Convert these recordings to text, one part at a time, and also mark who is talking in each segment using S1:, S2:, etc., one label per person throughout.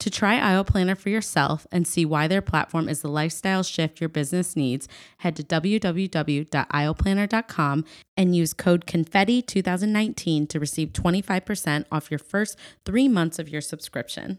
S1: To try IO Planner for yourself and see why their platform is the lifestyle shift your business needs, head to www.ioplanner.com and use code CONFETTI2019 to receive 25% off your first three months of your subscription.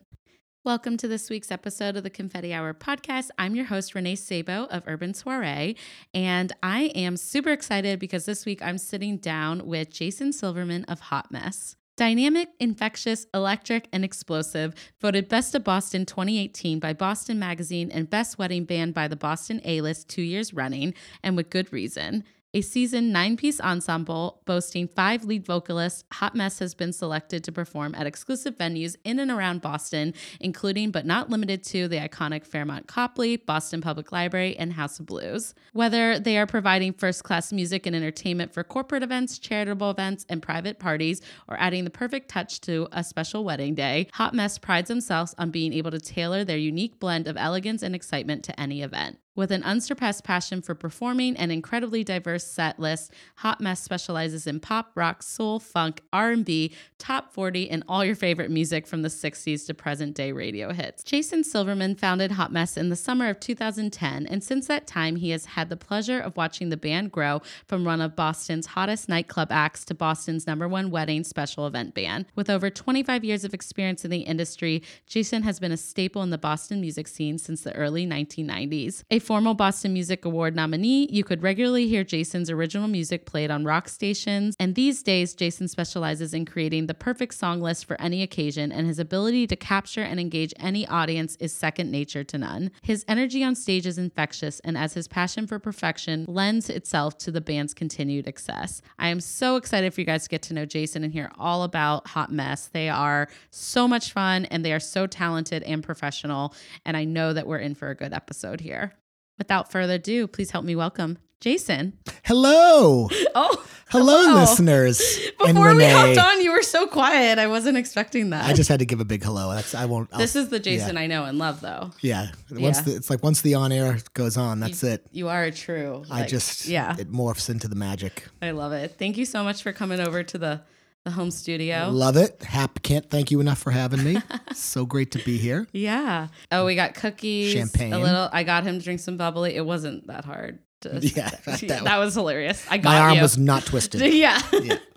S1: Welcome to this week's episode of the Confetti Hour podcast. I'm your host, Renee Sabo of Urban Soiree, and I am super excited because this week I'm sitting down with Jason Silverman of Hot Mess. Dynamic, infectious, electric, and explosive, voted Best of Boston 2018 by Boston Magazine and Best Wedding Band by the Boston A List two years running, and with good reason. A seasoned nine piece ensemble boasting five lead vocalists, Hot Mess has been selected to perform at exclusive venues in and around Boston, including but not limited to the iconic Fairmont Copley, Boston Public Library, and House of Blues. Whether they are providing first class music and entertainment for corporate events, charitable events, and private parties, or adding the perfect touch to a special wedding day, Hot Mess prides themselves on being able to tailor their unique blend of elegance and excitement to any event. With an unsurpassed passion for performing and incredibly diverse set list, Hot Mess specializes in pop, rock, soul, funk, R&B, top 40, and all your favorite music from the 60s to present-day radio hits. Jason Silverman founded Hot Mess in the summer of 2010, and since that time he has had the pleasure of watching the band grow from one of Boston's hottest nightclub acts to Boston's number one wedding special event band. With over 25 years of experience in the industry, Jason has been a staple in the Boston music scene since the early 1990s. A formal Boston Music Award nominee, you could regularly hear Jason's original music played on rock stations. And these days, Jason specializes in creating the perfect song list for any occasion, and his ability to capture and engage any audience is second nature to none. His energy on stage is infectious, and as his passion for perfection lends itself to the band's continued success. I am so excited for you guys to get to know Jason and hear all about Hot Mess. They are so much fun, and they are so talented and professional. And I know that we're in for a good episode here. Without further ado, please help me welcome Jason.
S2: Hello.
S1: Oh,
S2: Hello, listeners. and
S1: Before we
S2: Renee.
S1: hopped on, you were so quiet. I wasn't expecting that.
S2: I just had to give a big hello. That's I won't. I'll-
S1: this is the Jason I know and love, though.
S2: yeah. Once
S1: Yeah.
S2: The, it's like once the on air goes on, that's it.
S1: You are a true.
S2: I
S1: like-
S2: just
S1: yeah,
S2: It morphs into the magic.
S1: I love it. Thank you so much for coming over to the the home studio.
S2: Love it. Hap can't thank you enough for having me. so great to be here.
S1: yeah. Oh, we got cookies,
S2: Champagne.
S1: a little. I got him to drink some bubbly. It wasn't that hard. To,
S2: Yeah, that- that
S1: was hilarious. I got
S2: My arm
S1: you.
S2: was not twisted.
S1: yeah.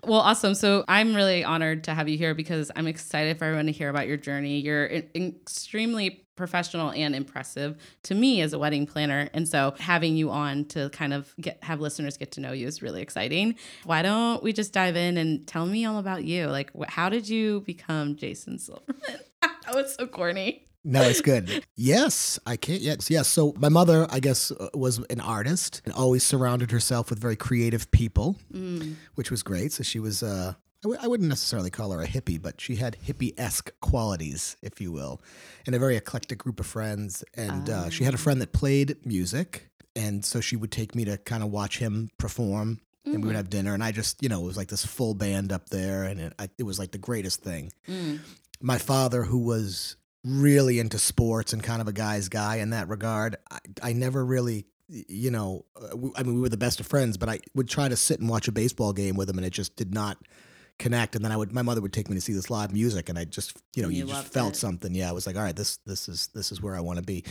S1: well, awesome. So I'm really honored to have you here because I'm excited for everyone to hear about your journey. You're in- extremely professional and impressive to me as a wedding planner, and so having you on to kind of get have listeners get to know you is really exciting. Why don't we just dive in and tell me all about you? Like, wh- how did you become Jason Silverman? that was so corny.
S2: No, it's good. yes, I can't. Yes, yes. So my mother, I guess, uh, was an artist and always surrounded herself with very creative people.
S1: Mm.
S2: which was great. So she was, uh, I, w- I wouldn't necessarily call her a hippie, but she had hippie esque qualities, if you will, and a very eclectic group of friends. And uh, she had a friend that played music. And so she would take me to kind of watch him perform. And we would have dinner. And I just, you know, it was like this full band up there. And it, I, it was like the greatest thing.
S1: Mm.
S2: My father, who was really into sports and kind of a guy's guy in that regard, I, I never really you know, uh, w- I mean, we were the best of friends, but I would try to sit and watch a baseball game with him, and it just did not connect. And then I would, my mother would take me to see this live music, and I just, you know,
S1: And
S2: you,
S1: you
S2: just
S1: loved
S2: felt
S1: it.
S2: something. Yeah, I was like, all right, this, this is, this is where I want to be.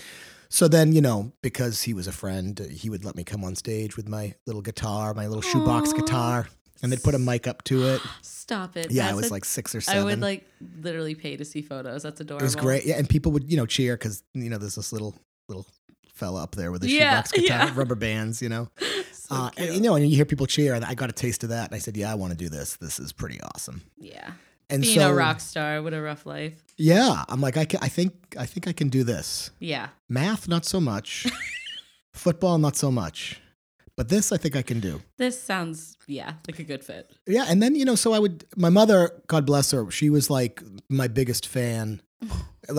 S2: So then, you know, because he was a friend, he would let me come on stage with my little guitar, my little shoebox
S1: Aw.
S2: guitar, and they'd put a mic up to it.
S1: Stop it.
S2: Yeah, I
S1: That's
S2: was
S1: a-
S2: like six or seven.
S1: I would like literally pay to see photos. That's adorable.
S2: it was great. Yeah, and people would, you know, cheer because you know there's this little little fella up there with a
S1: Yeah,
S2: shoebox guitar,
S1: yeah.
S2: rubber bands, you know.
S1: So
S2: Uh, and,
S1: cute.
S2: you know, and you hear people cheer, and I got a taste of that, and I said, "Yeah, I want to do this. This is pretty awesome."
S1: yeah.
S2: And
S1: Being
S2: so,
S1: a rock star, what a rough life.
S2: yeah, I'm like, I, can, I think, I think I can do this.
S1: Yeah.
S2: Math, not so much. Football, not so much. But this, I think I can do.
S1: This sounds, yeah, like a good fit.
S2: Yeah, and then you know, so I would. My mother, God bless her, she was like my biggest fan.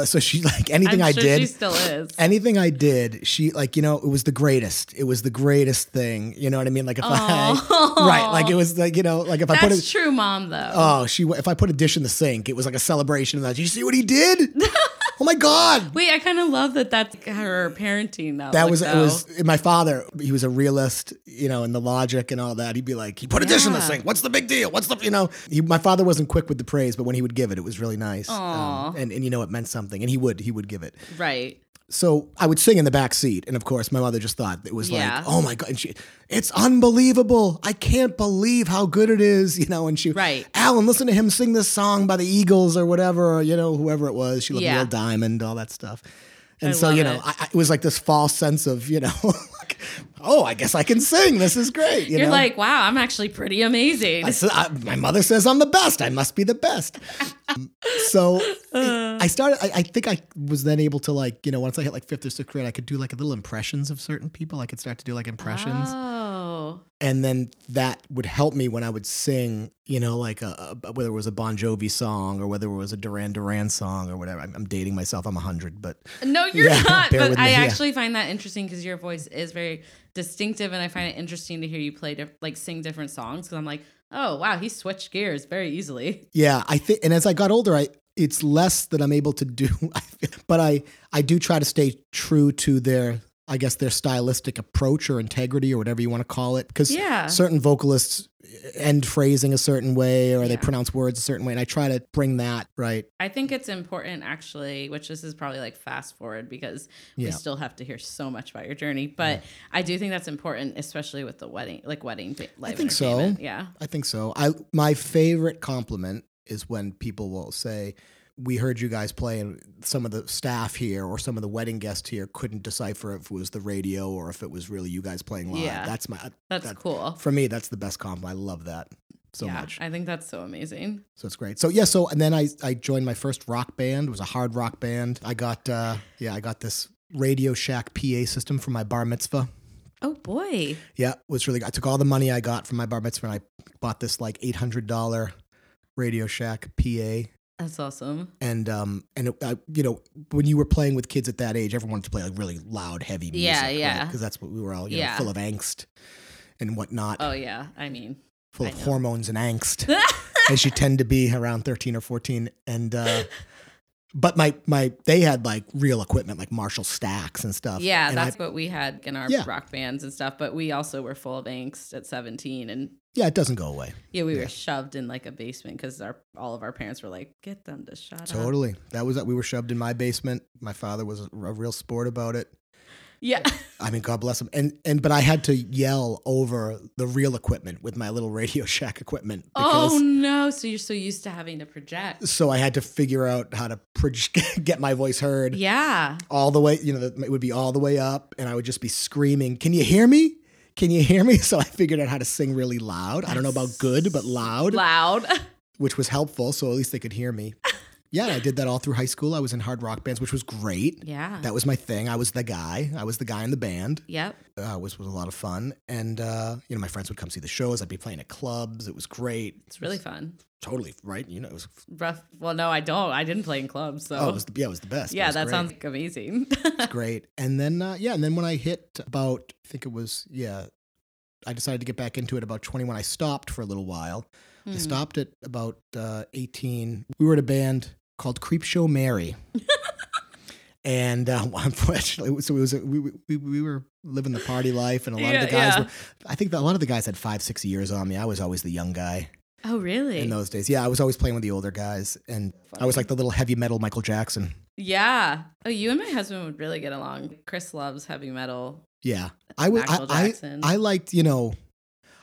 S2: So she like anything
S1: I'm
S2: I
S1: sure
S2: did.
S1: she still is.
S2: anything I did, she like, you know, it was the greatest. It was the greatest thing. You know what I mean? Like if
S1: Aw.
S2: I right, like it was like, you know, like if I put
S1: That's
S2: a
S1: true, mom, though.
S2: oh, she if I put a dish in the sink, it was like a celebration of that. Did you see what he did? oh my god.
S1: Wait, I kind of love that that's her parenting, though.
S2: That
S1: Like,
S2: was it
S1: though.
S2: was my father, he was a realist, you know, in the logic and all that. He'd be like, he put a dish in the
S1: Yeah.
S2: sink. What's the big deal? What's the you know, he, my father wasn't quick with the praise, but when he would give it, it was really nice. Um,
S1: Aw.
S2: and and you know it meant something and he would he would give it.
S1: Right.
S2: so I would sing in the back seat, and of course, my mother just thought it was
S1: Yeah.
S2: like, "Oh my god, and she, it's unbelievable! I can't believe how good it is," you know. And she,
S1: Right.
S2: Alan, listen to him sing this song by the Eagles or whatever, or, you know, whoever it was. She loved
S1: Yeah.
S2: Neil Diamond, all that stuff. And
S1: I
S2: so
S1: love
S2: you know,
S1: it.
S2: I, I, it was like this false sense of you know, like, oh, I guess I can sing. This is great. You
S1: You're
S2: know?
S1: like, wow, I'm actually pretty amazing.
S2: I s- I- my mother says I'm the best. I must be the best. Um, so I I started. I, I think I was then able to like you know once I hit like fifth or sixth grade, I could do like little impressions of certain people. I could start to do like impressions,
S1: Oh.
S2: and then that would help me when I would sing. You know, like a, a- whether it was a Bon Jovi song or whether it was a Duran Duran song or whatever. I'm, I'm dating myself. I'm hundred, but
S1: No, you're
S2: Yeah,
S1: not.
S2: bear
S1: But
S2: with me,
S1: I
S2: yeah.
S1: actually find that interesting because your voice is very distinctive, and I find it interesting to hear you play, diff- like, sing different songs. Because I'm like, oh wow, he switched gears very easily.
S2: Yeah, I think, and as I got older, I it's less that I'm able to do, I feel- but I I do try to stay true to their, I guess their stylistic approach or integrity or whatever you want to call it, because
S1: Yeah.
S2: certain vocalists end phrasing a certain way or they
S1: Yeah.
S2: pronounce words a certain way, and I try to bring that right.
S1: I think it's important, actually, which this is probably like fast forward because we
S2: Yeah.
S1: still have to hear so much about your journey. But I do think that's important, especially with the wedding, like wedding. ba- Live
S2: think so.
S1: entertainment. Yeah.
S2: I think so. I my favorite compliment is when people will say. We heard you guys play, and some of the staff here or some of the wedding guests here couldn't decipher if it was the radio or if it was really you guys playing live.
S1: Yeah.
S2: That's my
S1: That's
S2: That-
S1: cool.
S2: for me that's the best comp i love that so
S1: yeah,
S2: much
S1: I think that's so amazing.
S2: so it's great so yeah so and then i i joined my first rock band it was a hard rock band i got uh yeah i got this radio shack pa system for my bar mitzvah
S1: Oh boy.
S2: yeah it was really i took all the money i got from my bar mitzvah and i bought this like $800 radio shack pa
S1: That's awesome.
S2: and um and it, I, you know when you were playing with kids at that age everyone wanted to play like really loud heavy music
S1: Yeah, yeah.
S2: because that's what we were all you
S1: Yeah.
S2: know full of angst and whatnot
S1: Oh yeah. I mean.
S2: full
S1: I
S2: of
S1: know.
S2: hormones and angst as you tend to be around 13 or 14 and uh but my my they had like real equipment like marshall stacks and stuff
S1: Yeah,
S2: and I-
S1: that's what we had in our
S2: Yeah.
S1: rock bands and stuff, but we also were full of angst at 17 and
S2: yeah it doesn't go away
S1: yeah, we
S2: Yeah.
S1: were shoved in like a basement cuz our all of our parents were like, "Get them to shut up."
S2: totally that was we were shoved in my basement my father was a, a real sport about it
S1: Yeah.
S2: i mean god bless him and and but i had to yell over the real equipment with my little radio shack equipment
S1: Oh no, so you're so used to having to project.
S2: so i had to figure out how to proj- get my voice heard
S1: Yeah.
S2: all the way, you know, the- it would be all the way up, and I would just be screaming, Can you hear me? Can you hear me? So I figured out how to sing really loud. I don't know about good, but loud,
S1: Loud.
S2: which was helpful. So at least they could hear me. Yeah, I did that all through high school. I was in hard rock bands, which was great.
S1: Yeah.
S2: That was my thing. I was the guy. I was the guy in the band,
S1: yep.
S2: uh, which was a lot of fun. And, uh, you know, my friends would come see the shows. I'd be playing at clubs. It was great.
S1: It's really fun.
S2: Totally, right? You know, it was,
S1: Rough. Well, no, I don't. I didn't play in clubs, so
S2: oh, it was the, yeah, it was the best. It
S1: Yeah,
S2: was
S1: that
S2: great.
S1: sounds like amazing.
S2: great. And then uh, yeah, and then when I hit about I think it was yeah, I decided to get back into it about 21. I stopped for a little while. I
S1: Hmm.
S2: stopped at about uh, 18. We were in a band called Creepshow Mary. And uh, unfortunately, so it was we, we we were living the party life, and a lot of
S1: Hmm. Yeah,
S2: the guys
S1: yeah.
S2: were. I think that a lot of the guys had five, six years on me. I was always the young guy.
S1: Oh, really?
S2: in those days. Yeah, I was always playing with the older guys, and I was like the little heavy metal Michael Jackson.
S1: yeah. Oh, you and my husband would really get along. Chris loves heavy metal.
S2: Yeah, I was. I,
S1: Michael
S2: I,
S1: Jackson.
S2: I liked, you know,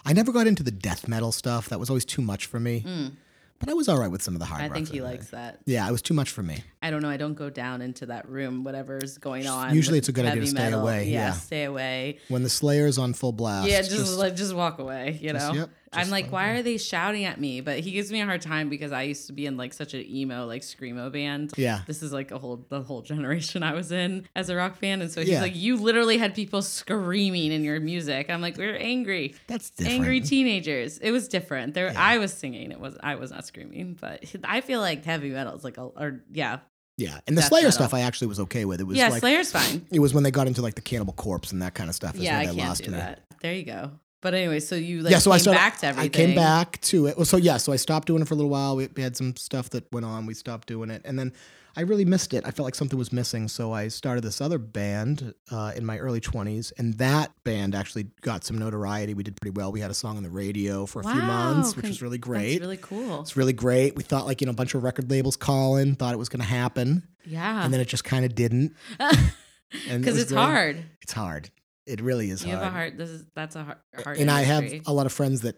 S2: I never got into the death metal stuff. That was always too much for me.
S1: Mm,
S2: But I was all right with some of the hard.
S1: I
S2: rock
S1: think he
S2: that
S1: likes that.
S2: Yeah, it was too much for me.
S1: I don't know. I don't go down into that room, whatever's going on.
S2: usually
S1: with
S2: it's a good idea to
S1: heavy
S2: stay
S1: metal.
S2: away, yeah.
S1: stay away.
S2: When the Slayer is on full blast,
S1: yeah, just, like just walk away. You know,
S2: just- yep,
S1: I'm
S2: just
S1: like,
S2: let it
S1: why are they shouting at me? But he gives me a hard time because I used to be in like such an emo, like screamo band.
S2: yeah,
S1: This is like a whole the whole generation I was in as a rock fan, and so he's
S2: Yeah.
S1: like, you literally had people screaming in your music. I'm like, we're angry.
S2: that's different.
S1: Angry teenagers. It was different. There, I was singing. It was I was not screaming, but I feel like heavy metal is like a or yeah,
S2: yeah, and the
S1: death
S2: Slayer
S1: metal.
S2: stuff I actually was okay with. It was
S1: yeah.
S2: like
S1: Slayer's fine.
S2: it was when they got into like the Cannibal Corpse and that kind of stuff. Is
S1: Yeah, I
S2: when
S1: can't
S2: lost
S1: do
S2: me.
S1: that. There you go. But anyway, so you like
S2: yeah, so
S1: came
S2: I started,
S1: back to everything.
S2: I came back to it. Well, so yeah, so I stopped doing it for a little while. We, we had some stuff that went on. We stopped doing it, and then I really missed it. I felt like something was missing, so I started this other band uh, in my early twenties, and that band actually got some notoriety. We did pretty well. We had a song on the radio for a few months, which
S1: con-
S2: was really
S1: that's
S2: great.
S1: really cool.
S2: it's really great. We thought like you know a bunch of record labels calling, thought it was going to happen,
S1: Yeah.
S2: and then it just kind of didn't. And it
S1: Because
S2: was
S1: it's
S2: really-
S1: hard.
S2: It's hard. It really is
S1: you
S2: hard.
S1: have a heart. This is that's a heart. heart
S2: and I have
S1: industry.
S2: a lot of friends that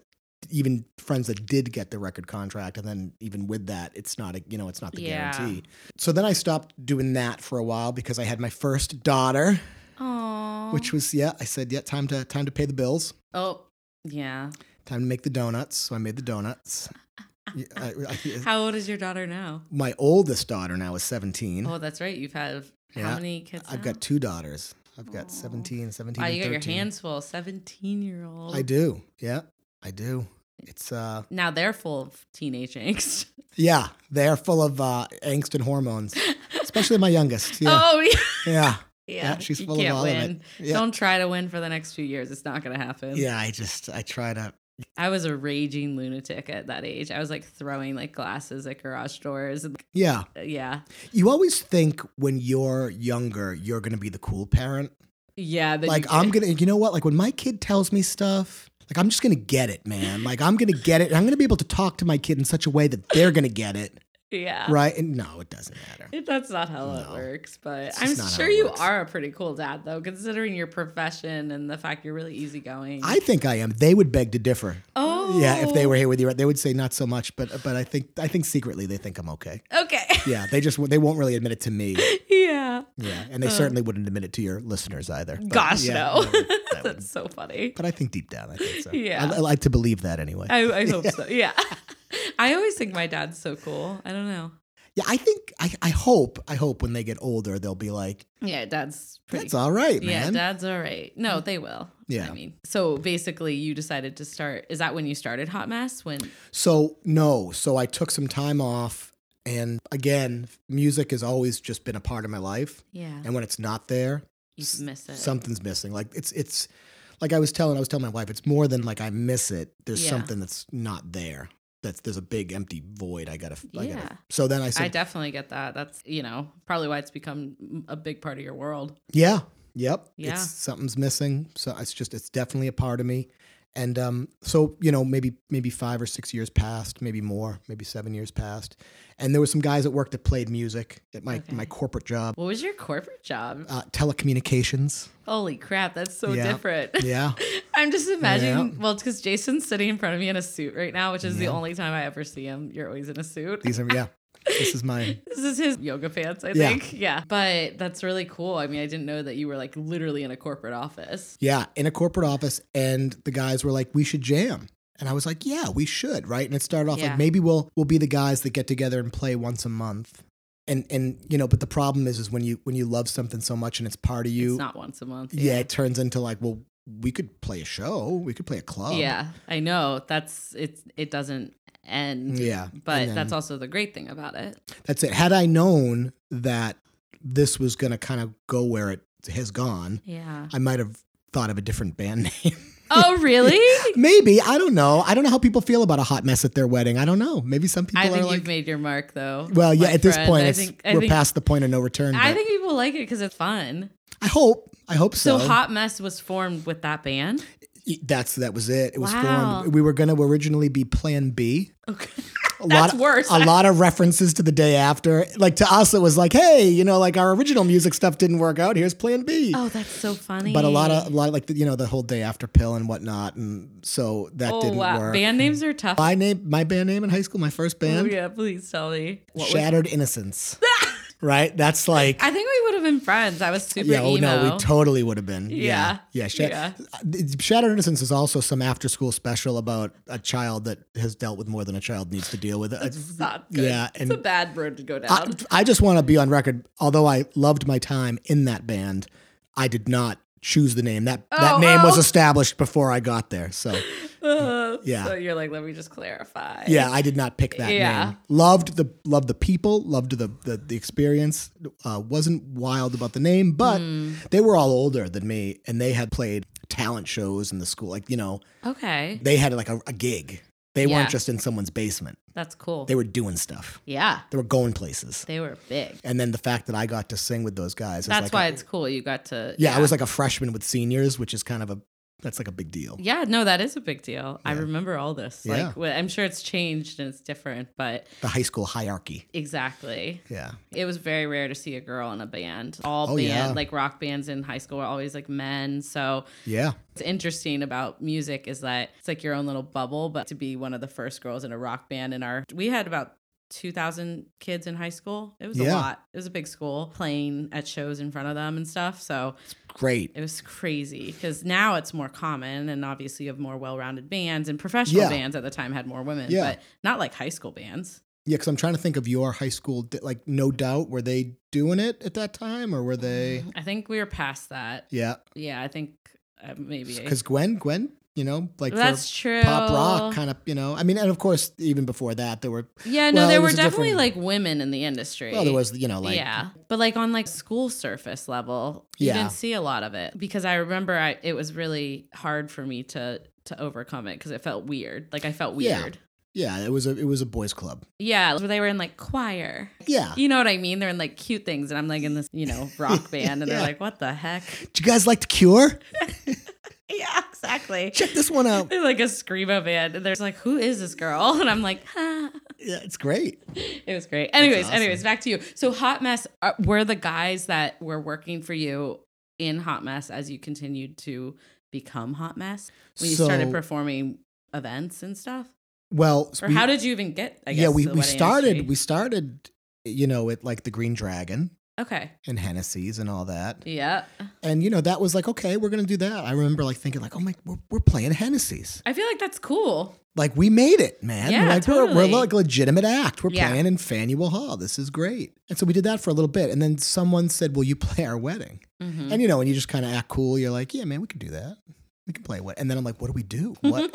S2: even friends that did get the record contract and then even with that it's not a you know it's not the
S1: Yeah.
S2: guarantee so then i stopped doing that for a while because i had my first daughter
S1: Aw.
S2: which was yeah i said yeah time to time to pay the bills
S1: oh yeah.
S2: time to make the donuts so i made the donuts Yeah, I- I-
S1: How old is your daughter now?
S2: my oldest daughter now is 17
S1: Oh, that's right. You've had how
S2: Mm-hmm. Yeah.
S1: many kids?
S2: i've
S1: now?
S2: got two daughters i've
S1: Aw.
S2: got 17 17
S1: Wow,
S2: and
S1: you got
S2: 13.
S1: your hands full. Seventeen-year-old.
S2: i do yeah i do it's uh
S1: Now they're full of teenage angst.
S2: yeah they're full of uh angst and hormones especially my youngest yeah
S1: Oh yeah.
S2: Yeah.
S1: Yeah,
S2: Yeah, she's
S1: you
S2: full of
S1: can't
S2: all of it.
S1: win.
S2: Yeah.
S1: Don't try to win for the next few years. It's not going to happen.
S2: Yeah, I just I try to
S1: I was a raging lunatic at that age. I was like throwing like glasses at garage doors. And,
S2: Yeah.
S1: yeah.
S2: You always think when you're younger you're going to be the cool parent.
S1: Yeah. that you
S2: Like
S1: did.
S2: I'm going to you know what? Like when my kid tells me stuff, like I'm just going to get it, man. Like I'm going to get it. and I'm going to be able to talk to my kid in such a way that they're going to get it,
S1: Yeah.
S2: right? And no, it doesn't matter.
S1: It- That's not how it
S2: No.
S1: works, but
S2: It's
S1: I'm
S2: just not how
S1: sure
S2: it
S1: you
S2: works.
S1: are a pretty cool dad, though, considering your profession and the fact you're really easygoing.
S2: I think I am. They would beg to differ.
S1: oh,
S2: Yeah, if they were here with you, they would say not so much, but but I think I think secretly they think I'm okay.
S1: Oh, okay,
S2: Yeah, they just they won't really admit it to me.
S1: yeah.
S2: Yeah, and they certainly wouldn't admit it to your listeners either. But
S1: Uh. Gosh,
S2: yeah,
S1: no,
S2: that would
S1: that's so funny.
S2: But I think deep down, I think so.
S1: Yeah.
S2: I, I like to believe that anyway.
S1: I, I hope so. Yeah, I always think my dad's so cool. I don't know.
S2: yeah, I think I, I hope I hope when they get older they'll be like,
S1: Yeah, dad's pretty.
S2: that's all right,
S1: yeah,
S2: man.
S1: dad's all right. No, they will.
S2: Yeah.
S1: I mean, so basically, you decided to start. Is that when you started Hot Mess? When
S2: so no, so I took some time off, and again, music has always just been a part of my life,
S1: yeah,
S2: and when it's not there,
S1: you
S2: s-
S1: miss it.
S2: something's missing. Like it's it's like I was telling I was telling my wife, it's more than like I miss it. There's
S1: Yeah.
S2: something that's not there. That's there's a big empty void. I gotta. I
S1: Yeah.
S2: gotta so then I said,
S1: I definitely get that. That's you know probably why it's become a big part of your world.
S2: Yeah. Yep.
S1: Yeah.
S2: It's, something's missing. So it's just it's definitely a part of me. And um, so you know maybe maybe five or six years passed, maybe more, maybe seven years passed, and there were some guys at work that played music at my
S1: Okay.
S2: my corporate job,
S1: What was your corporate job?
S2: uh, telecommunications.
S1: Holy crap, that's so
S2: Yeah.
S1: different.
S2: Yeah,
S1: I'm just imagining.
S2: Yeah.
S1: Well, because Jason's sitting in front of me in a suit right now, which is the
S2: Yeah.
S1: only time I ever see him. You're always in a suit.
S2: these are yeah. This is my
S1: This is his yoga pants, I
S2: Yeah.
S1: think. Yeah, but that's really cool. I mean, I didn't know that you were like literally in a corporate office.
S2: Yeah, in a corporate office, and the guys were like, "We should jam," and I was like, "Yeah, we should." Right, and it started off
S1: Yeah.
S2: like maybe we'll we'll be the guys that get together and play once a month, and and you know, but the problem is is when you when you love something so much and it's part of you,
S1: it's not once a month.
S2: yeah, it turns into like, well, we could play a show, we could play a club,
S1: Yeah, I know. That's it's it doesn't end.
S2: yeah,
S1: But
S2: And then-
S1: that's also the great thing about it.
S2: that's it. Had I known that this was gonna kind of go where it has gone,
S1: Yeah.
S2: I might have thought of a different band name.
S1: Oh, really?
S2: Maybe I don't know. I don't know how people feel about a hot mess at their wedding. I don't know. Maybe some people
S1: I
S2: are
S1: think
S2: like,
S1: you've made your mark, though.
S2: well, yeah.
S1: my
S2: At this
S1: friend.
S2: point,
S1: I
S2: it's,
S1: think- I
S2: we're
S1: think-
S2: past the point of no return.
S1: I
S2: but
S1: think people like it because it's fun.
S2: I hope. I hope so.
S1: So, Hot Mess was formed with that band.
S2: That's that was it. It was
S1: Wow.
S2: formed. We were going to originally be Plan B.
S1: Okay.
S2: A
S1: That's
S2: lot
S1: worse.
S2: A lot of references to the day after. Like to us, it was like, hey, you know, like our original music stuff didn't work out. Here's Plan B.
S1: Oh, that's so funny.
S2: But a lot of a lot of like the, you know the whole day after pill and whatnot, and so that
S1: oh,
S2: didn't
S1: wow.
S2: work.
S1: Band names are tough.
S2: my name, my band name in high school, my first
S1: Oh,
S2: band,
S1: yeah, please tell me. What was-
S2: Shattered Innocence. right? That's like
S1: I think we would have been friends. I was super
S2: yeah. Oh
S1: emo.
S2: no, we totally would have been.
S1: Yeah.
S2: Yeah. Sha-
S1: Yeah.
S2: Uh, Shattered Innocence is also some after-school special about a child that has dealt with more than a child needs to deal with. Uh,
S1: It's not good.
S2: Yeah,
S1: it's
S2: and-
S1: a bad road to go
S2: I,
S1: down.
S2: I just want to be on record. Although I loved my time in that band, I did not choose the name. That
S1: Oh,
S2: that name was
S1: oh.
S2: established before I got there. So
S1: Uh,
S2: yeah.
S1: So you're like, let me just clarify.
S2: yeah, I did not pick that
S1: Yeah.
S2: name. Loved the loved the people. Loved the the, the experience. Uh, wasn't wild about the name, but
S1: Hmm.
S2: they were all older than me, and they had played talent shows in the school. Like you know,
S1: Okay.
S2: they had like a, a gig. They
S1: Yeah.
S2: weren't just in someone's basement.
S1: That's cool.
S2: They were doing stuff.
S1: yeah.
S2: They were going places.
S1: They were big.
S2: And then the fact that I got to sing with those guys. is
S1: That's
S2: like a-
S1: why it's cool. You got to.
S2: yeah, I was like a freshman with seniors, which is kind of a that's like a big deal.
S1: Yeah, no, that is a big deal. I remember all this.
S2: Yeah.
S1: Like, wh- I'm sure it's changed and it's different, but
S2: The high school hierarchy.
S1: exactly.
S2: Yeah.
S1: It was very rare to see a girl in a band. All
S2: Oh,
S1: band,
S2: yeah.
S1: like rock bands in high school, were always like men. So
S2: Yeah.
S1: What's interesting about music is that it's like your own little bubble, but to be one of the first girls in a rock band in our we had about 2000 kids in high school. It was a
S2: Yeah.
S1: lot. It was a big school playing at shows in front of them and stuff. So
S2: Great.
S1: it was crazy because now it's more common and obviously you have more well rounded bands and professional
S2: Yeah.
S1: bands at the time had more women,
S2: Yeah.
S1: but not like high school bands.
S2: Yeah, because I'm trying to think of your high school, di- like, no doubt, were they doing it at that time or were they?
S1: I think we were past that.
S2: Yeah.
S1: Yeah, I think uh, maybe.
S2: Because Gwen, Gwen, you know, like, for
S1: That's true.
S2: pop rock kind of, you know, I mean, and of course, even before that, there were,
S1: Yeah, no,
S2: Well,
S1: there
S2: it
S1: were
S2: was a
S1: definitely like
S2: different-
S1: women in the industry.
S2: well, there was, you know, like,
S1: yeah, but like on like school surface level, you
S2: Yeah.
S1: didn't see a lot of it because I remember I, it was really hard for me to to overcome it because it felt weird. Like I felt
S2: Yeah.
S1: weird.
S2: yeah, it was a, it was a boys club.
S1: Yeah, where they were in like choir.
S2: Yeah.
S1: You know what I mean? They're in like cute things, and I'm like in this you know rock band, and they're
S2: Yeah.
S1: like, what the heck?
S2: Did you guys like The Cure?
S1: Yeah, exactly.
S2: Check this one out.
S1: They're like a screamo band, and there's like, who is this girl? And I'm like, ah.
S2: Yeah, it's great.
S1: It was great. Anyways,
S2: awesome.
S1: anyways, back to you. So Hot Mess uh, were the guys that were working for you in Hot Mess as you continued to become Hot Mess when you started
S2: So-
S1: performing events and stuff.
S2: Well,
S1: Or
S2: we-
S1: how did you even get? I guess,
S2: yeah, we,
S1: to the
S2: we
S1: wedding
S2: started,
S1: industry?
S2: we started, you know, at like the Green Dragon
S1: okay.
S2: and Hennessy's and all that.
S1: Yeah,
S2: And, you know, that was like, okay, we're going to do that. I remember like thinking like, oh my, we're, we're playing Hennessy's.
S1: I feel like that's cool.
S2: Like we made it, man.
S1: Yeah,
S2: like we're, we're
S1: totally.
S2: like a legitimate act. We're
S1: Yeah.
S2: playing in Faneuil Hall. This is great. And so we did that for a little bit. And then someone said, will you play our wedding?
S1: Mhm.
S2: And, you know, when you just kind of act cool, you're like, yeah, man, we can do that. We can play what? And then I'm like, what do we do? What?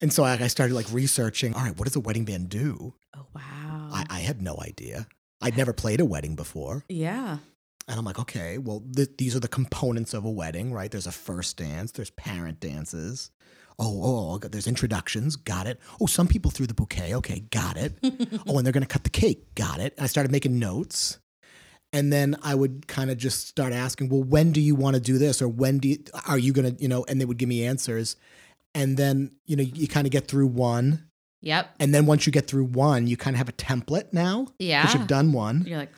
S2: and so I, I started like researching, all right, what does a wedding band do?
S1: oh wow.
S2: I, I had no idea. I'd never played a wedding before.
S1: yeah.
S2: And I'm like, okay, well, th- these are the components of a wedding, right? There's a first dance, there's parent dances. Oh, oh, oh, got- there's introductions, got it. Oh, some people threw the bouquet, okay, got it. oh, and they're gonna cut the cake, got it. And I started making notes. And then I would kind of just start asking, well, when do you wanna do this? Or when do you, are you gonna, you know, and they would give me answers. And then, you know, you kind of get through one.
S1: Yep.
S2: And then once you get through one, you kind of have a template now. 'cause
S1: Yeah.
S2: You've done one.
S1: You're like,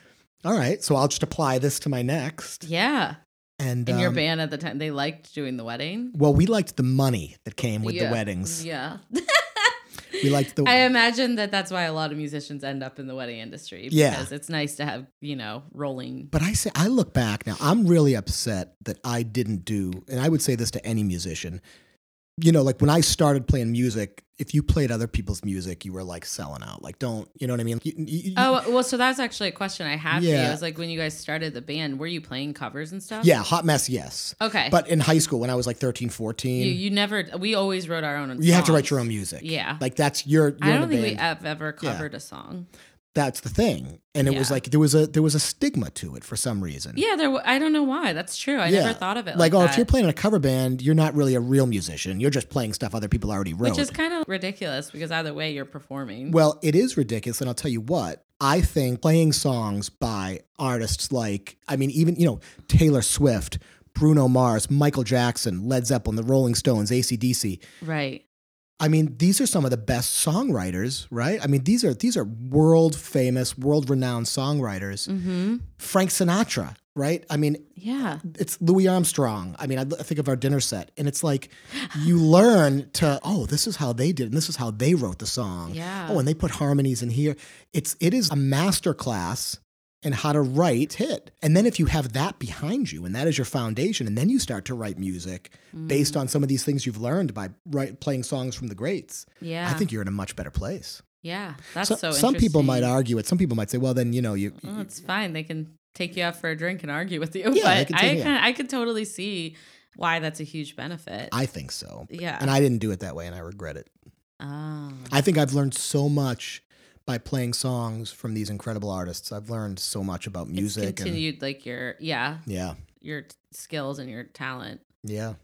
S2: All right, so I'll just apply this to my next.
S1: yeah.
S2: And,
S1: And your
S2: um,
S1: band at the time, they liked doing the wedding.
S2: Well, we liked the money that came with
S1: Yeah.
S2: the weddings.
S1: Yeah.
S2: We liked the.
S1: I imagine that that's why a lot of musicians end up in the wedding industry.
S2: Yeah.
S1: Because it's nice to have, you know, rolling.
S2: but I say I look back now. I'm really upset that I didn't do, and I would say this to any musician. You know, like when I started playing music, if you played other people's music, you were like selling out. Like, don't you know what I mean? You- you- you-
S1: Oh, well, so that's actually a question I have for you.
S2: Yeah.
S1: It was like when you guys started the band, were you playing covers and stuff?
S2: yeah, hot mess, yes.
S1: Okay.
S2: But in high school, when I was like 13, 14,
S1: you,
S2: you,
S1: you never, we always wrote our own
S2: have to
S1: songs.
S2: write your own music.
S1: Yeah.
S2: like that's your. You're
S1: I
S2: in
S1: don't
S2: a
S1: think we
S2: band.
S1: have ever
S2: Yeah.
S1: covered a song.
S2: that's the thing and it was
S1: Yeah.
S2: like there was a there was a stigma to it for some reason
S1: Yeah, there. wa- I don't know why. That's true. I
S2: Yeah.
S1: never thought of it like,
S2: like, oh
S1: that.
S2: if you're playing in a cover band you're not really a real musician you're just playing stuff other people already wrote
S1: Which is kind of ridiculous because either way you're performing.
S2: well it is ridiculous and i'll tell you what i think playing songs by artists like i mean even you know taylor swift Bruno Mars, Michael Jackson, Led Zeppelin, the Rolling Stones, ACDC.
S1: Right.
S2: I mean, these are some of the best songwriters, right? I mean, these are these are world famous, world renowned songwriters.
S1: Mm-hmm.
S2: Frank Sinatra, right? I mean,
S1: Yeah.
S2: it's Louis Armstrong. I mean, I, I think of our dinner set, and it's like you learn to oh, this is how they did, it, and this is how they wrote the song.
S1: Yeah.
S2: Oh, and they put harmonies in here. It's it is a master class in how to write hit. And then if you have that behind you, and that is your foundation, and then you start to write music based
S1: Mm.
S2: on some of these things you've learned by write, playing songs from the greats.
S1: Yeah.
S2: I think you're in a much better place.
S1: Yeah. That's
S2: So-
S1: so,
S2: some people might
S1: interesting. Oh,
S2: argue it. Some people might say, well, then you know you.
S1: Well, it's fine. They can take you out for a drink and argue with you.
S2: Yeah, they
S1: but
S2: can
S1: I
S2: take you
S1: kinda, I could totally see why that's a huge benefit.
S2: I think so.
S1: yeah.
S2: And I didn't do it that way, and I regret it.
S1: oh.
S2: I think I've learned so much by playing songs from these incredible artists. I've learned so much about music.
S1: It's continued like your yeah
S2: And, yeah.
S1: your t- skills and your talent.
S2: Yeah.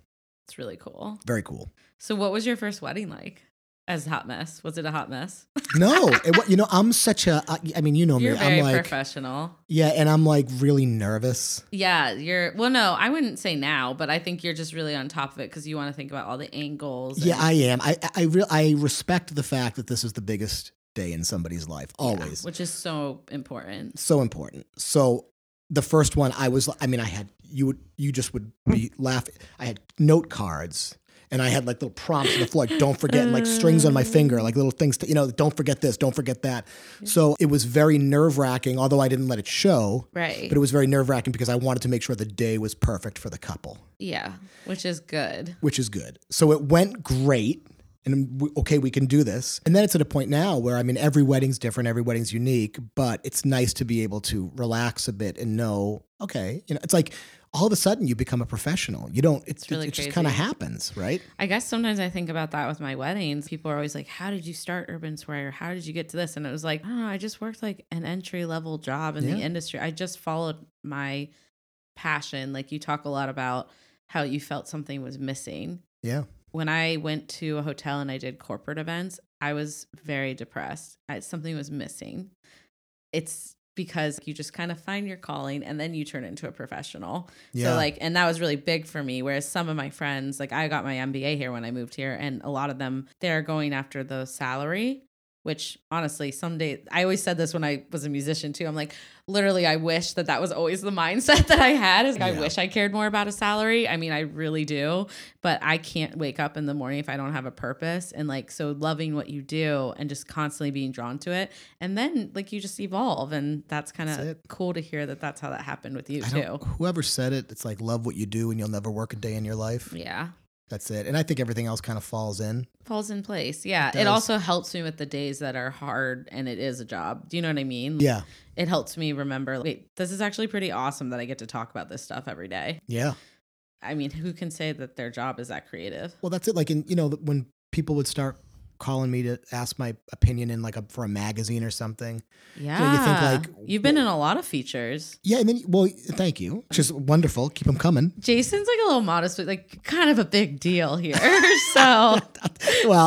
S1: It's really cool.
S2: Very cool.
S1: So, what was your first wedding like? As a hot mess, was it a hot mess?
S2: No, it, wa- you know, I'm such a, I, I mean, you know
S1: You're
S2: me.
S1: very
S2: Oh, I'm like,
S1: professional.
S2: yeah, and I'm like really nervous.
S1: Yeah, you're. Well, no, I wouldn't say now, but I think you're just really on top of it because you want to think about all the angles.
S2: Yeah,
S1: and-
S2: I am. I, I, I, re- I respect the fact that this is the biggest day in somebody's life,
S1: Yeah,
S2: always.
S1: which is so important.
S2: so important. So the first one, I was, I mean, I had you would, you just would be laughing. I had note cards. And I had like little prompts on the floor, like don't forget, and like strings on my finger, like little things to, you know, don't forget this, don't forget that. So it was very nerve wracking, although I didn't let it show,
S1: Right.
S2: but it was very nerve wracking because I wanted to make sure the day was perfect for the couple,
S1: yeah, which is good.
S2: which is good. So it went great. And we- okay, we can do this. And then it's at a point now where I mean, every wedding's different, every wedding's unique, but it's nice to be able to relax a bit and know, okay, you know, it's like all of a sudden you become a professional. You don't, it's,
S1: really
S2: it, just
S1: crazy.
S2: kind of happens, right?
S1: I guess sometimes I think about that with my weddings. People are always like, "How did you start Urban Swear? How did you get to this?" And it was like, "I don't know. I just worked like an entry level job in the
S2: Yeah.
S1: industry. I just followed my passion." Like you talk a lot about how you felt something was missing.
S2: Yeah.
S1: When I went to a hotel and I did corporate events, I was very depressed. I, something was missing. It's because you just kind of find your calling and then you turn into a professional.
S2: Yeah.
S1: So like, and that was really big for me. Whereas some of my friends, like I got my MBA here when I moved here, and a lot of them they're going after the salary. Which honestly, someday I always said this when I was a musician too. I'm like, literally, I wish that that was always the mindset that I had. Is like,
S2: Yeah.
S1: I wish I cared more about a salary. I mean, I really do, but I can't wake up in the morning if I don't have a purpose. And like, so loving what you do and just constantly being drawn to it, and then like you just evolve, and that's kind
S2: That's
S1: of
S2: it.
S1: cool to hear that that's how that happened with you
S2: I
S1: too.
S2: don't, whoever said it, it's like love what you do and you'll never work a day in your life.
S1: Yeah.
S2: That's it. And I think everything else kind of falls in.
S1: Falls in place. Yeah.
S2: It
S1: It,
S2: does.
S1: also helps me with the days that are hard and it is a job. Do you know what I mean?
S2: Yeah.
S1: It helps me remember, like, wait, this is actually pretty awesome that I get to talk about this stuff every day.
S2: Yeah.
S1: I mean, who can say that their job is that creative?
S2: Well, that's it. Like, in, you know, when people would start calling me to ask my opinion in like a, for a magazine or something.
S1: Yeah.
S2: know, you think, like,
S1: You've been in a lot of features.
S2: Yeah, and then well, thank you, which is wonderful. Keep them coming.
S1: Jason's like a little modest, but like kind of a big deal here. so
S2: Well,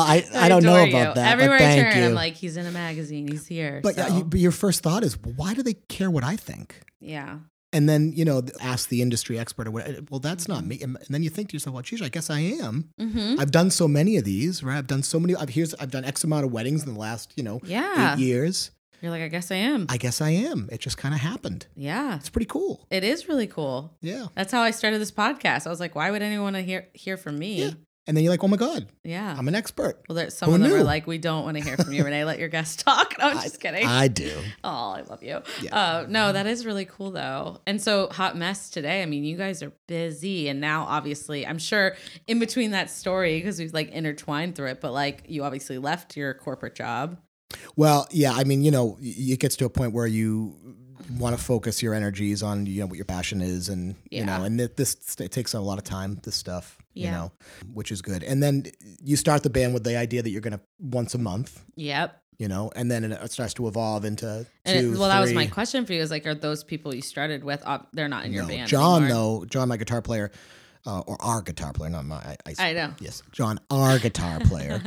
S2: I, I don't know
S1: adore
S2: about
S1: you.
S2: that. but
S1: Everywhere I
S2: thank
S1: turn,
S2: you.
S1: I'm like, he's in a magazine. He's here.
S2: but yeah,
S1: so,
S2: you, but your first thought is, why do they care what I think?
S1: yeah.
S2: And then you know, th- ask the industry expert or what. Well, that's not me. And and then you think to yourself, well, geez, I guess I am.
S1: Mm-hmm.
S2: I've done so many of these, right? I've done so many. I've here's I've done X amount of weddings in the last you know
S1: Yeah.
S2: eight years.
S1: You're like, I guess I am.
S2: I guess I am. It just kind of happened.
S1: yeah.
S2: It's pretty cool.
S1: It is really cool.
S2: Yeah.
S1: That's how I started this podcast. I was like, why would anyone want to hear hear from me?
S2: Yeah.
S1: Yeah.
S2: And then you're like, oh my god, I'm an expert.
S1: well, there's some of them
S2: knew?
S1: were like, we don't want to hear from you, Renee. Let your guest talk. No, I'm just kidding.
S2: I do.
S1: oh, I love you.
S2: Yeah.
S1: Uh, no, that is really cool though. And so, hot mess today. I mean, you guys are busy, and now obviously, I'm sure in between that story because we've like intertwined through it. But like, you obviously left your corporate job.
S2: Well, yeah, I mean, you know, y- it gets to a point where you want to focus your energies on you know what your passion is, and you know,
S1: Yeah.
S2: and th- this it takes a lot of time. This stuff, you
S1: Yeah.
S2: know, which is good. And then you start the band with the idea that you're going to once a month,
S1: Yep.
S2: you know, and then it starts to evolve into
S1: And it,
S2: two,
S1: well, that was my
S2: three.
S1: question for you. Is like, are those people you started with? Op- they're not in your
S2: No,
S1: band.
S2: John
S1: anymore.
S2: though, John, my guitar player, uh, or our guitar player, not my. I, I,
S1: I know.
S2: Yes, John, our guitar player,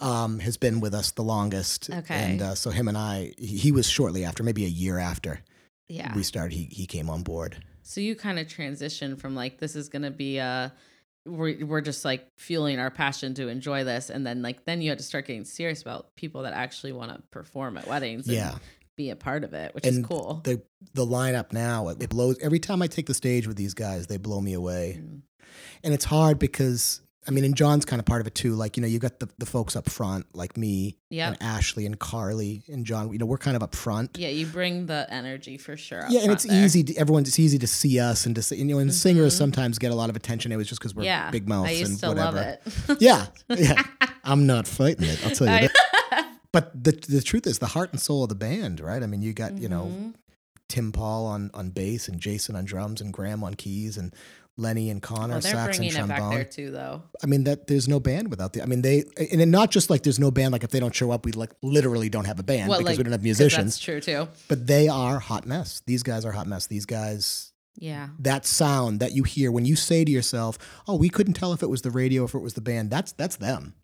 S2: um, has been with us the longest.
S1: Okay.
S2: and uh, so him and I, he, he was shortly after, maybe a year after.
S1: Yeah.
S2: we started he he came on board
S1: So you kind of transitioned from like this is going to be a we're, we're just like fueling our passion to enjoy this and then like then you had to start getting serious about people that actually want to perform at weddings and
S2: Yeah.
S1: be a part of it which is
S2: And
S1: cool
S2: The the lineup now it, it blows. Every time I take the stage with these guys, they blow me away,
S1: Mm.
S2: and it's hard because I mean, and John's kind of part of it too. Like you know, you got the the folks up front, like me
S1: yeah
S2: and Ashley and Carly and John. You know, we're kind of up front.
S1: yeah you bring the energy for sure up
S2: Yeah, and
S1: front
S2: it's
S1: there.
S2: easy. To, everyone's it's easy to see us and to see. You know, and singers
S1: Mhm.
S2: sometimes get a lot of attention. It was just because we're
S1: yeah
S2: big mouths
S1: i used
S2: and
S1: to
S2: whatever.
S1: love it
S2: Yeah, yeah. I'm not fighting it. I'll tell you. that.
S1: I-
S2: But the the truth is, the heart and soul of the band, right? I mean, you got you know
S1: Mhm.
S2: Tim Paul on on bass and Jason on drums and Graham on keys and Lenny and Connor
S1: well, Oh, they're
S2: sax and
S1: bringing it back there
S2: trombone.
S1: too though
S2: I mean, that there's no band without the. I mean, they and then not just like there's no band. Like if they don't show up, we like literally don't have a band
S1: Well, like,
S2: because we don't have
S1: 'cause that's
S2: musicians.
S1: true too
S2: But they are hot mess. These guys are hot mess. These guys
S1: yeah
S2: that sound that you hear when you say to yourself, "Oh, we couldn't tell if it was the radio, if it was the band." That's that's them.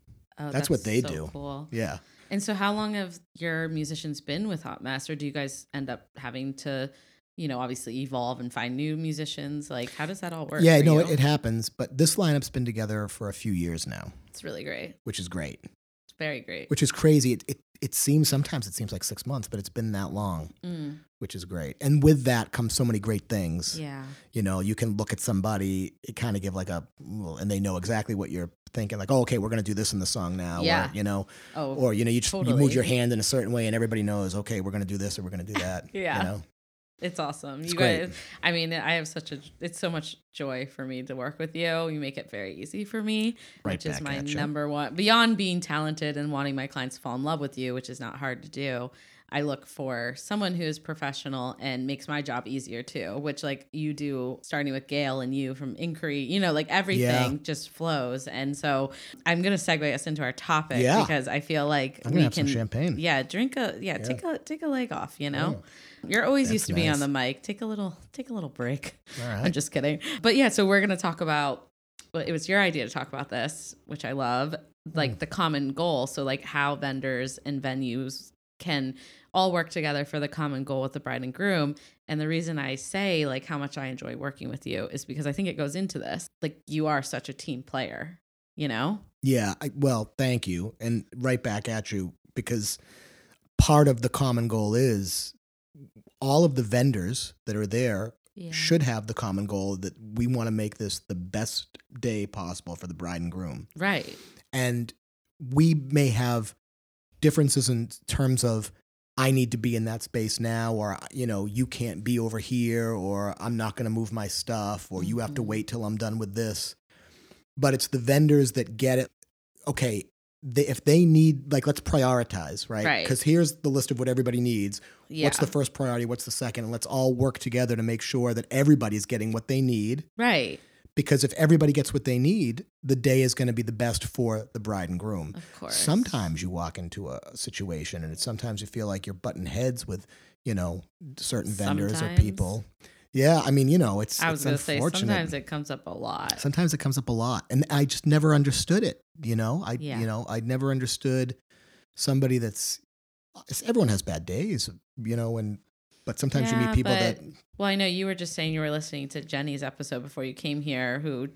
S1: oh,
S2: That's what they
S1: so
S2: do.
S1: cool
S2: Yeah.
S1: And so, how long have your musicians been with Hot Mess, or do you guys end up having to, you know, obviously evolve and find new musicians? Like, how does that all work?
S2: yeah,
S1: for
S2: no,
S1: you?
S2: it, it happens. But this lineup's been together for a few years now,
S1: it's really great.
S2: which is great.
S1: It's very great.
S2: Which is crazy. It it, it seems sometimes it seems like six months, but it's been that long,
S1: Mm,
S2: which is great. And with that comes so many great things.
S1: yeah,
S2: You know, you can look at somebody, it kind of give like a, well, and they know exactly what you're thinking. Like, oh, okay, we're gonna do this in the song now. or,
S1: Yeah.
S2: you know,
S1: Oh,
S2: or you know, you just you
S1: Totally.
S2: moved your hand in a certain way, and everybody knows. Okay, we're gonna do this or we're gonna do that.
S1: Yeah.
S2: You know.
S1: it's awesome. You
S2: It's great.
S1: guys, I mean, I have such a, it's so much joy for me to work with you. You make it very easy for me,
S2: Right
S1: which is
S2: back
S1: my
S2: at ya.
S1: number one. Beyond being talented and wanting my clients to fall in love with you, which is not hard to do, I look for someone who is professional and makes my job easier too, which like you do, starting with Gail and you from Inquiry, you know, like everything just flows. And so I'm going to segue us into our topic
S2: Yeah.
S1: because I feel like
S2: I'm gonna
S1: we
S2: have
S1: can
S2: some champagne. Oh,
S1: yeah, drink a yeah, take a take a leg off, you know. You're always used to be on the mic. Take a little take a little break.
S2: Oh, All
S1: I'm
S2: right.
S1: just kidding. But yeah, so we're gonna talk about well, it was your idea to talk about this, which I love.
S2: Mm.
S1: Like the common goal. So like how vendors and venues can all work together for the common goal with the bride and groom. And the reason I say like how much I enjoy working with you is because I think it goes into this. Like you are such a team player, you know?
S2: Yeah. I, well, thank you. And right back at you because part of the common goal is all of the vendors that are there
S1: Yeah.
S2: should have the common goal that we want to make this the best day possible for the bride and groom.
S1: Right.
S2: And we may have differences in terms of I need to be in that space now or you know you can't be over here or I'm not going to move my stuff or you have to
S1: Mhm.
S2: wait till I'm done with this. But it's the vendors that get it. Okay, they, if they need like let's prioritize, right?
S1: Right.
S2: Cuz here's the list of what everybody needs.
S1: Yeah.
S2: What's the first priority? What's the second? And let's all work together to make sure that everybody's getting what they need
S1: right.
S2: because if everybody gets what they need, the day is going to be the best for the bride and groom.
S1: Of course.
S2: Sometimes you walk into a situation and it's sometimes you feel like you're butting heads with, you know, certain vendors or
S1: Sometimes.
S2: people. Yeah, I mean, you know, it's
S1: I was
S2: it's
S1: going to say
S2: unfortunate.
S1: sometimes it comes up a lot.
S2: Sometimes it comes up a lot and I just never understood it, you know? I
S1: Yeah.
S2: you know, I never understood somebody that's it's- everyone has bad days, you know, and but sometimes you
S1: Yeah,
S2: meet people that
S1: but- well, I know you were just saying you were listening to Jenny's episode before you came here, who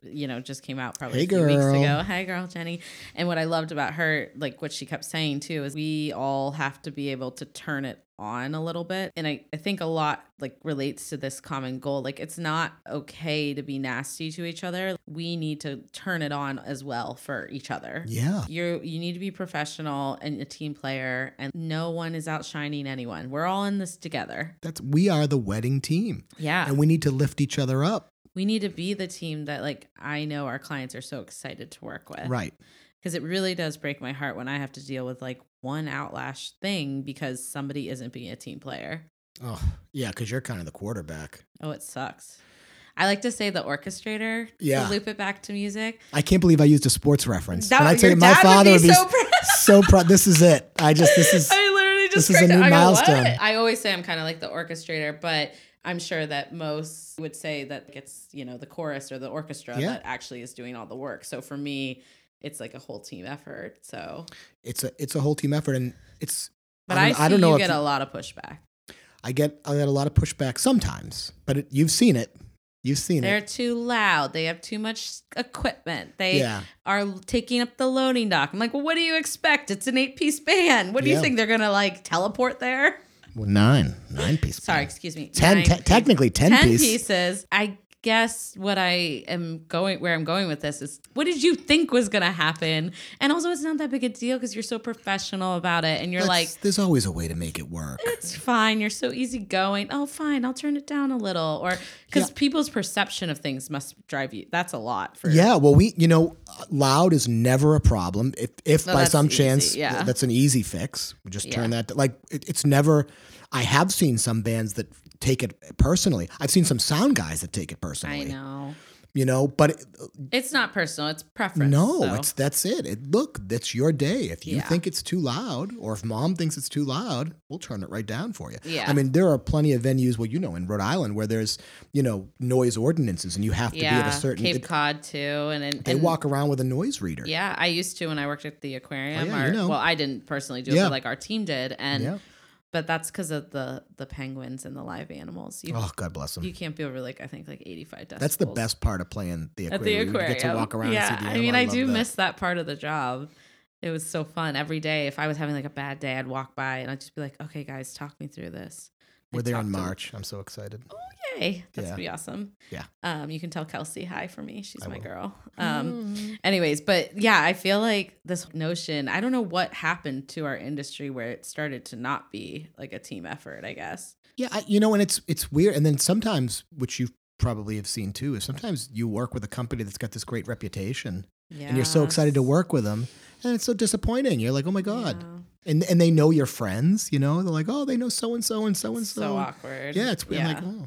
S1: you know just came out probably
S2: Hey,
S1: a few
S2: girl.
S1: weeks ago. Hi, girl, Jenny. And what I loved about her, like what she kept saying too, is we all have to be able to turn it on a little bit. And I, I think a lot like relates to this common goal. Like it's not okay to be nasty to each other. We need to turn it on as well for each other
S2: yeah.
S1: you you need to be professional and a team player and no one is outshining anyone we're all in this together
S2: That's we are the wedding team
S1: yeah
S2: and we need to lift each other up.
S1: we need to be the team that like i know our clients are so excited to work with
S2: Right.
S1: because it really does break my heart when i have to deal with like one outlash thing because somebody isn't being a team player
S2: Oh, yeah, because you're kind of the quarterback.
S1: oh it sucks i like to say the orchestrator
S2: Yeah.
S1: to loop it back to music
S2: I can't believe I used a sports reference.
S1: That-
S2: When I tell
S1: your
S2: you, my
S1: dad
S2: father would be
S1: so proud.
S2: so proud. This is it. I just, this is,
S1: I literally just
S2: this is a
S1: cracked up.
S2: new
S1: I go, "What?"
S2: milestone.
S1: I always say I'm kind of like the orchestrator, but I'm sure that most would say that it's you know the chorus or the orchestra
S2: Yeah.
S1: that actually is doing all the work. So for me, it's like a whole team effort. So,
S2: it's a, it's a whole team effort. And it's,
S1: but
S2: I
S1: I,
S2: don't-
S1: see
S2: I don't know
S1: you
S2: if
S1: get
S2: you-
S1: a lot of pushback.
S2: I get I get a lot of pushback sometimes, but it, you've seen it. You've seen
S1: They're
S2: it.
S1: too loud. They have too much equipment. They
S2: yeah.
S1: are taking up the loading dock. I'm like, well, what do you expect? It's an eight piece band. What do
S2: Yeah.
S1: you think? They're going to like teleport there?
S2: Well, nine. Nine piece.
S1: Sorry,
S2: band.
S1: excuse me.
S2: Ten.
S1: Nine
S2: te-
S1: piece-
S2: technically, ten,
S1: 10
S2: piece.
S1: pieces. I guess what I am going, where I'm going with this is what did you think was going to happen? And also, it's not that big a deal because you're so professional about it and you're like,
S2: That's- there's always a way to make it work.
S1: it's fine. You're so easygoing. Oh, fine. I'll turn it down a little. Or because people's perception of things must drive you. That's a lot for
S2: Yeah, well, we you know, loud is never a problem. If if
S1: No,
S2: by
S1: that's
S2: some
S1: easy,
S2: chance
S1: yeah.
S2: that's an easy fix, we just turn that like it, it's never. I have seen some bands that take it personally. I've seen some sound guys that take it personally.
S1: I know.
S2: You know, but it-
S1: It's not personal. It's preference.
S2: no,
S1: so.
S2: it's that's it. it. Look, that's your day. If you
S1: Yeah.
S2: think it's too loud, or if mom thinks it's too loud, we'll turn it right down for you.
S1: Yeah.
S2: I mean, there are plenty of venues. Well, you know, in Rhode Island where there's you know noise ordinances, and you have to
S1: yeah.
S2: be at a certain.
S1: Cape
S2: it-
S1: Cod too, and, and
S2: they
S1: and-
S2: walk around with a noise reader.
S1: Yeah, I used to when I worked at the aquarium.
S2: Oh, yeah,
S1: or,
S2: you know.
S1: Well, I didn't personally do it,
S2: Yeah.
S1: but like our team did, and
S2: Yeah.
S1: but that's because of the the penguins and the live animals. You
S2: Oh, God bless them.
S1: you can't feel over like I think like eighty five decibels.
S2: That's the best part of playing the
S1: at
S2: aquarium.
S1: the
S2: You
S1: aquarium.
S2: get to walk around.
S1: Yeah,
S2: and see the
S1: I
S2: animal.
S1: mean, I, do
S2: love that.
S1: miss that part of the job. It was so fun every day. If I was having like a bad day, I'd walk by and I'd just be like, "Okay, guys, talk me through this."
S2: We're there in
S1: talked to-
S2: March. I'm so excited.
S1: Yay, that's
S2: Yeah.
S1: be awesome.
S2: Yeah.
S1: Um, you can tell Kelsey hi for me. She's
S2: I
S1: my
S2: will.
S1: girl. Um, anyways, but yeah, I feel like this notion. I don't know what happened to our industry where it started to not be like a team effort. I guess.
S2: Yeah, I, you know, and it's it's weird. And then sometimes, which you probably have seen too, is sometimes you work with a company that's got this great reputation,
S1: Yeah.
S2: and you're so excited to work with them, and it's so disappointing. You're like, oh my god, and and they know your friends. You know, they're like, oh, they know so and so and so and
S1: So,
S2: so.
S1: awkward.
S2: Yeah, it's weird. I'm
S1: Yeah.
S2: Like, oh,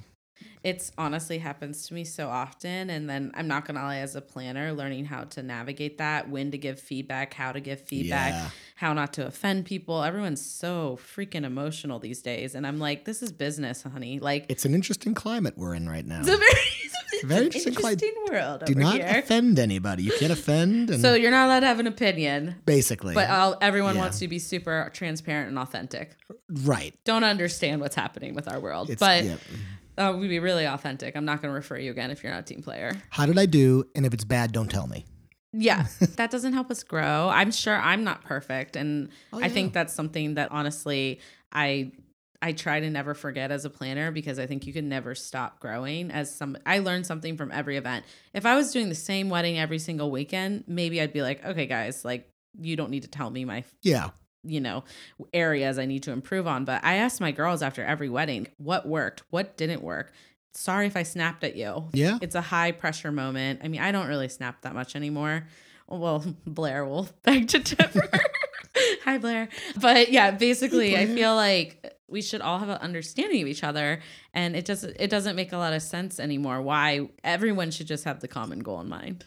S1: it's honestly happens to me so often and then i'm not gonna lie as a planner learning how to navigate that when to give feedback how to give feedback
S2: Yeah.
S1: how not to offend people everyone's so freaking emotional these days and i'm like this is business honey like
S2: it's an interesting climate we're in right now.
S1: it's a very, it's
S2: Very
S1: an
S2: interesting
S1: interesting,
S2: cli-
S1: world
S2: Do
S1: over
S2: not
S1: here
S2: offend anybody. You can't offend. And
S1: so you're not allowed to have an opinion
S2: basically,
S1: but uh, all, everyone
S2: Yeah.
S1: wants you to be super transparent and authentic
S2: right.
S1: don't understand what's happening with our world
S2: It's,
S1: but
S2: yeah.
S1: uh, we'd be really authentic i'm not gonna refer you again if you're not a team player
S2: How did I do? And if it's bad, don't tell me.
S1: Yeah, that doesn't help us grow. I'm sure I'm not perfect, and
S2: Oh,
S1: I
S2: yeah.
S1: think that's something that honestly I I try to never forget as a planner because I think you can never stop growing. As some, I learned something from every event. If I was doing the same wedding every single weekend, maybe I'd be like, okay, guys, like you don't need to tell me my
S2: Yeah.
S1: you know areas I need to improve on. But I asked my girls after every wedding what worked, what didn't work. Sorry if I snapped at you
S2: Yeah.
S1: it's a high pressure moment. I mean, I don't really snap that much anymore. Well, Blair will beg to differ. Hi, Blair. But yeah, basically, I feel like we should all have an understanding of each other, and it doesn't it doesn't make a lot of sense anymore. Why everyone should just have the common goal in mind.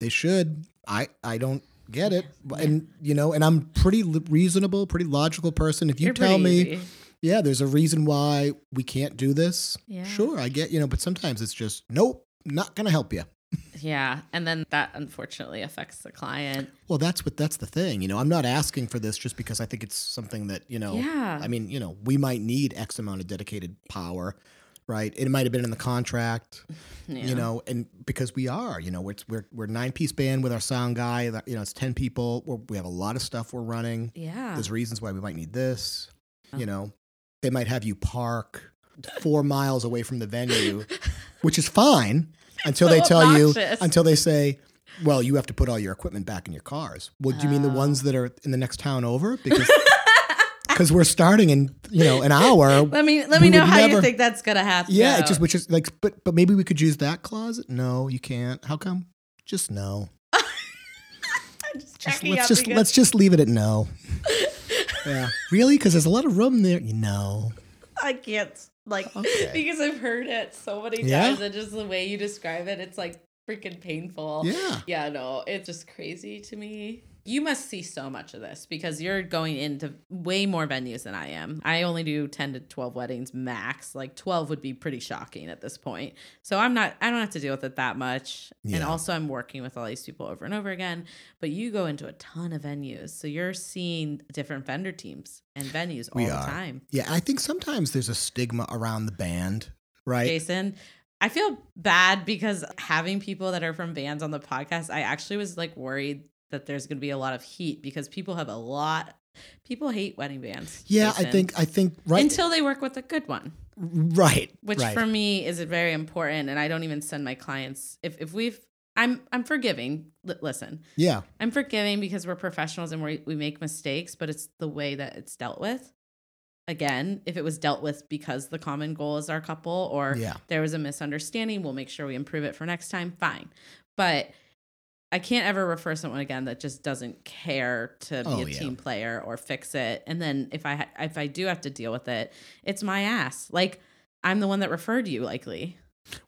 S2: They should. I I don't get it. And you know, and I'm pretty l- reasonable, pretty logical person. If you
S1: You're pretty
S2: tell me,
S1: easy.
S2: yeah, there's a reason why we can't do this.
S1: Yeah.
S2: Sure, I get, you know, but sometimes it's just nope, not going to help you.
S1: yeah, and then that unfortunately affects the client.
S2: Well, that's what that's the thing. You know, I'm not asking for this just because I think it's something that, you know,
S1: Yeah.
S2: I mean, you know, we might need X amount of dedicated power, right? It might have been in the contract.
S1: Yeah.
S2: you know, and because we are, you know, we're we're we're nine piece band with our sound guy. that- You know, it's ten people. We're, we have a lot of stuff we're running.
S1: yeah,
S2: There's reasons why we might need this.
S1: Oh.
S2: You know, they might have you park four miles away from the venue, which is fine until
S1: so
S2: they tell
S1: obnoxious.
S2: you until they say. Well, you have to put all your equipment back in your cars. Well, do you mean the
S1: Oh.
S2: ones that are in the next town over? Because cause we're starting in you know an hour.
S1: let me let
S2: we
S1: me know
S2: would
S1: how you
S2: never-
S1: think that's gonna happen.
S2: Yeah, it just which is like, but but maybe we could use that clause. No, you can't. How come? Just no.
S1: Just
S2: Just-
S1: checking
S2: let's
S1: out
S2: just
S1: because-
S2: let's just leave it at no. yeah, really? Because there's a lot of room there. No.
S1: I can't like
S2: Okay.
S1: because I've heard it so many
S2: Yeah?
S1: times and just the way you describe it, it's like freaking painful.
S2: Yeah.
S1: Yeah, no, it's just crazy to me. You must see so much of this because you're going into way more venues than I am. I only do 10 to 12 weddings max. Like 12 would be pretty shocking at this point. So I'm not, I don't have to deal with it that much. And
S2: Yeah.
S1: also, I'm working with all these people over and over again. But you go into a ton of venues. So you're seeing different vendor teams and venues all
S2: We
S1: the
S2: are.
S1: time.
S2: Yeah, I think sometimes there's a stigma around the band, right?
S1: Jason. I feel bad because having people that are from bands on the podcast, I actually was like worried that there's going to be a lot of heat because people have a lot. People hate wedding bands.
S2: yeah, I
S1: Jason.
S2: think I think right,
S1: until they work with a good one,
S2: right,
S1: which
S2: right.
S1: for me is very important. And I don't even send my clients if if we've. I'm I'm forgiving. L- listen,
S2: yeah,
S1: I'm forgiving because we're professionals and we we make mistakes, but it's the way that it's dealt with. Again, if it was dealt with because the common goal is our couple or
S2: yeah,
S1: there was a misunderstanding. We'll make sure we improve it for next time. Fine. But I can't ever refer someone again that just doesn't care to be
S2: Oh,
S1: a
S2: yeah.
S1: team player or fix it. And then if I ha- if I do have to deal with it, it's my ass. Like I'm the one that referred you likely.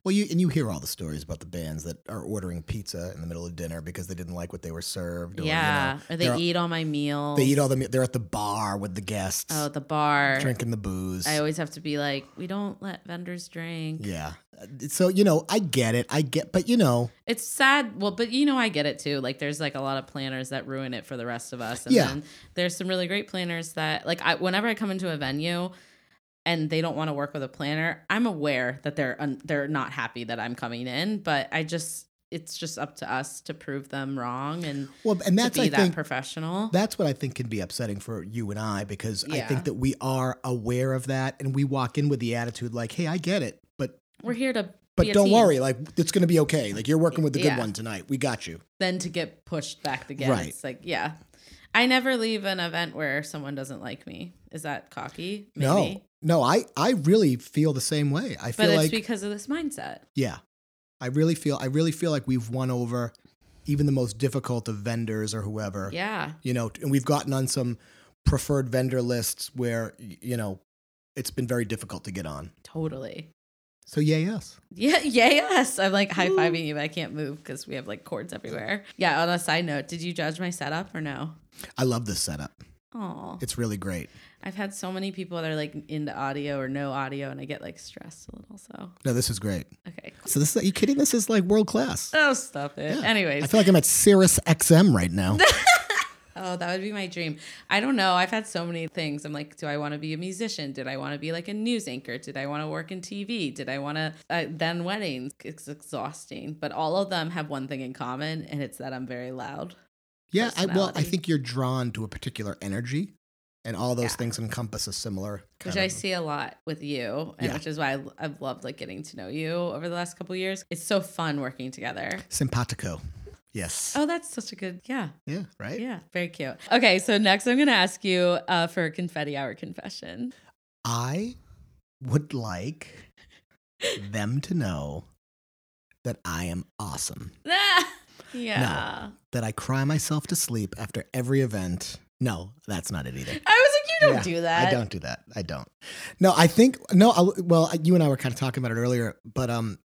S2: Well, you and you hear all the stories about the bands that are ordering pizza in the middle of dinner because they didn't like what they were served. Or, you know,
S1: yeah. or they
S2: they're-
S1: eat all my meals.
S2: they eat all the. me- They're at the bar with the guests,
S1: Oh, the bar.
S2: drinking the booze.
S1: I always have to be like, we don't let vendors drink.
S2: yeah. Uh, So you know, I get it. I get, but you know,
S1: It's sad. Well, but you know, I get it too. Like, there's like a lot of planners that ruin it for the rest of us. And
S2: Yeah.
S1: then there's some really great planners that, like, I, whenever I come into a venue and they don't want to work with a planner, I'm aware that they're un, they're not happy that I'm coming in. But I just, it's just up to us to prove them wrong and
S2: well, and that's
S1: to be
S2: I
S1: that
S2: think
S1: professional.
S2: that's what I think can be upsetting for you and I because I
S1: Yeah.
S2: think that we are aware of that and we walk in with the attitude like, "Hey, I get it," but
S1: We're here to.
S2: but
S1: be a
S2: don't
S1: team
S2: worry, like it's going to be okay. Like you're working with the
S1: Yeah.
S2: good one tonight. We got you.
S1: Then to get pushed back again.
S2: Right.
S1: It's like, yeah. I never leave an event where someone doesn't like me. Is that cocky? Maybe.
S2: No, no, I I really feel the same way. I
S1: But
S2: feel
S1: it's
S2: like
S1: because of this mindset.
S2: yeah, I really feel I really feel like we've won over even the most difficult of vendors or whoever.
S1: Yeah.
S2: You know, and we've gotten on some preferred vendor lists where y- you know it's been very difficult to get on.
S1: Totally.
S2: So yeah, yes.
S1: Yeah, yeah, yes. I'm like high fiving you, but I can't move because we have like cords everywhere. Yeah, on a side note, did you judge my setup or no?
S2: I love this setup.
S1: Oh,
S2: It's really great.
S1: I've had so many people that are like into audio or no audio, and I get like stressed a little. So,
S2: No, this is great.
S1: okay.
S2: So this is, are you kidding? This is like world class.
S1: Oh, stop it.
S2: Yeah. I
S1: Anyways,
S2: feel like I'm at Cirrus XM right now.
S1: oh, that would be my dream. I don't know. I've had so many things. I'm like, do I want to be a musician? Did I want to be like a news anchor? Did I want to work in TV? Did I want to uh, then weddings? It's exhausting, but all of them have one thing in common, and it's that I'm very loud.
S2: Yeah, I, well, I
S1: personality.
S2: think you're drawn to a particular energy, and all those
S1: Yeah.
S2: things encompass a similar.
S1: which
S2: kind
S1: I
S2: of-
S1: see a lot with you, and
S2: Yeah.
S1: which is why I, I've loved like getting to know you over the last couple years. It's so fun working together.
S2: Simpatico. Yes.
S1: Oh, that's such a good yeah,
S2: Yeah. Right.
S1: yeah, very cute. Okay, so next I'm gonna ask you uh, for a confetti hour confession.
S2: I would like them to know that I am awesome.
S1: Ah! yeah,
S2: That I cry myself to sleep after every event. No, that's not it either.
S1: I was like, you don't
S2: Yeah,
S1: do that.
S2: I don't do that. I don't. No, I think no. I, well, you and I were kind of talking about it earlier, but um,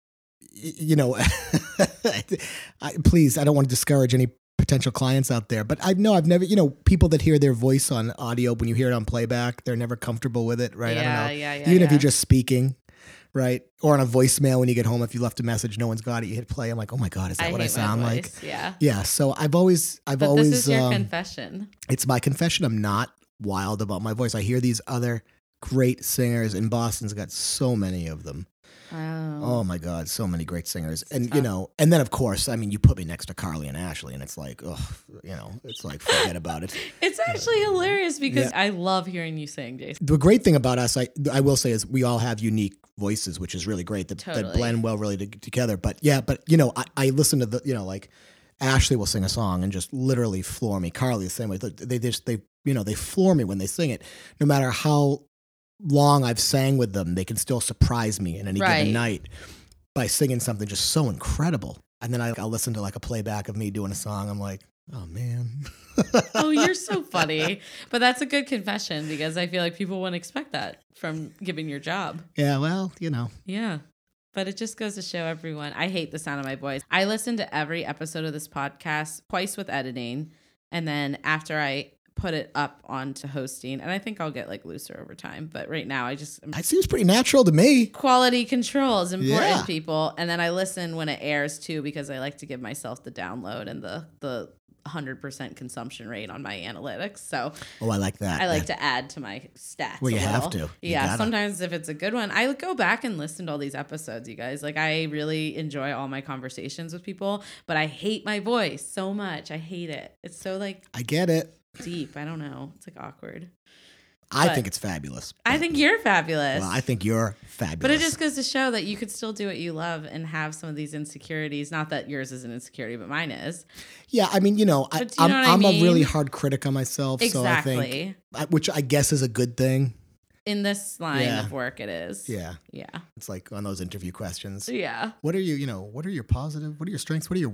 S2: y- you know, I, please, I don't want to discourage any potential clients out there, but I know I've never, you know, people that hear their voice on audio when you hear it on playback, they're never comfortable with it, right? I
S1: Yeah,
S2: don't know.
S1: yeah, yeah.
S2: even if
S1: yeah.
S2: you're just speaking, right? Or on a voicemail when you get home, if you left a message, no one's got it. You hit play. I'm like, oh my god, is that what I
S1: hate my
S2: sound like?
S1: voice, Yeah.
S2: Yeah. So I've always, I've
S1: But
S2: always,
S1: this is your
S2: um,
S1: confession.
S2: it's my confession. I'm not wild about my voice. I hear these other great singers, and Boston's got so many of them. Oh
S1: Oh.
S2: my god, so many great singers,
S1: It's
S2: and you
S1: tough.
S2: know, and then of course, I mean, you put me next to Carly and Ashley, and it's like, ugh, you know, it's like forget about it.
S1: It's actually hilarious because I love hearing you sing, Jason.
S2: the great thing about us, I I will say, is we all have unique voices, which is really great. That, that
S1: Totally.
S2: blend well really to, together. But yeah, but you know, I, I listen to the you know like Ashley will sing a song and just literally floor me. Carly the same way. They- They just they you know they floor me when they sing it, no matter how long I've sang with them. They can still surprise me in any
S1: Right.
S2: given night by singing something just so incredible. And then I, I'll listen to like a playback of me doing a song. I'm like, oh man.
S1: oh, you're so funny. But that's a good confession because I feel like people wouldn't expect that from giving your job.
S2: yeah, well, you know.
S1: Yeah. But it just goes to show everyone I hate the sound of my voice. I listen to every episode of this podcast twice with editing And then after I put it up onto hosting, and I think I'll get like looser over time, but right now I just
S2: That seems pretty natural to me.
S1: quality control is important
S2: Yeah.
S1: people and then i listen when it airs too because i like to give myself the download and the the 100% consumption rate on my analytics so
S2: Oh, I like that.
S1: i like to add to my stats
S2: Well,
S1: a
S2: you have
S1: little.
S2: to. You
S1: yeah
S2: gotta.
S1: sometimes if it's a good one i go back and listen to all these episodes you guys like i really enjoy all my conversations with people but i hate my voice so much i hate it it's so like
S2: I get it.
S1: deep i don't know it's like awkward
S2: I
S1: But-
S2: think it's fabulous.
S1: i think you're fabulous
S2: Well, I think you're fabulous.
S1: But it just goes to show that you could still do what you love and have some of these insecurities. Not that yours is an insecurity, but mine is.
S2: yeah. I mean, you know, I,
S1: But do you know
S2: I'm,
S1: what I
S2: I'm
S1: mean?
S2: a really hard critic on myself. So I think,
S1: exactly.
S2: I- which I guess is a good thing.
S1: In this line
S2: Yeah.
S1: of work, it is.
S2: Yeah,
S1: Yeah.
S2: it's like on those interview questions.
S1: Yeah.
S2: What are you? You know, what are your positive? What are your strengths? What are your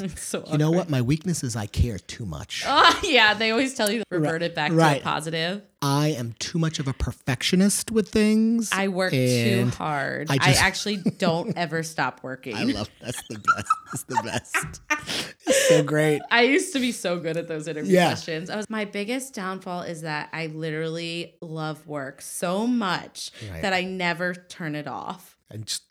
S1: It's so
S2: you know
S1: awkward.
S2: what? My weakness is I care too much.
S1: Oh, yeah. They always tell you to revert it back to
S2: right.
S1: a positive.
S2: I am too much of a perfectionist with things.
S1: I work
S2: and
S1: too hard. I,
S2: I just-
S1: actually don't ever stop working.
S2: I love that's the best. It's the best. It's so great.
S1: I used to be so good at those interview
S2: Yeah.
S1: questions. I was my biggest downfall is that I literally love work so much
S2: Right.
S1: that I never turn it off.
S2: I just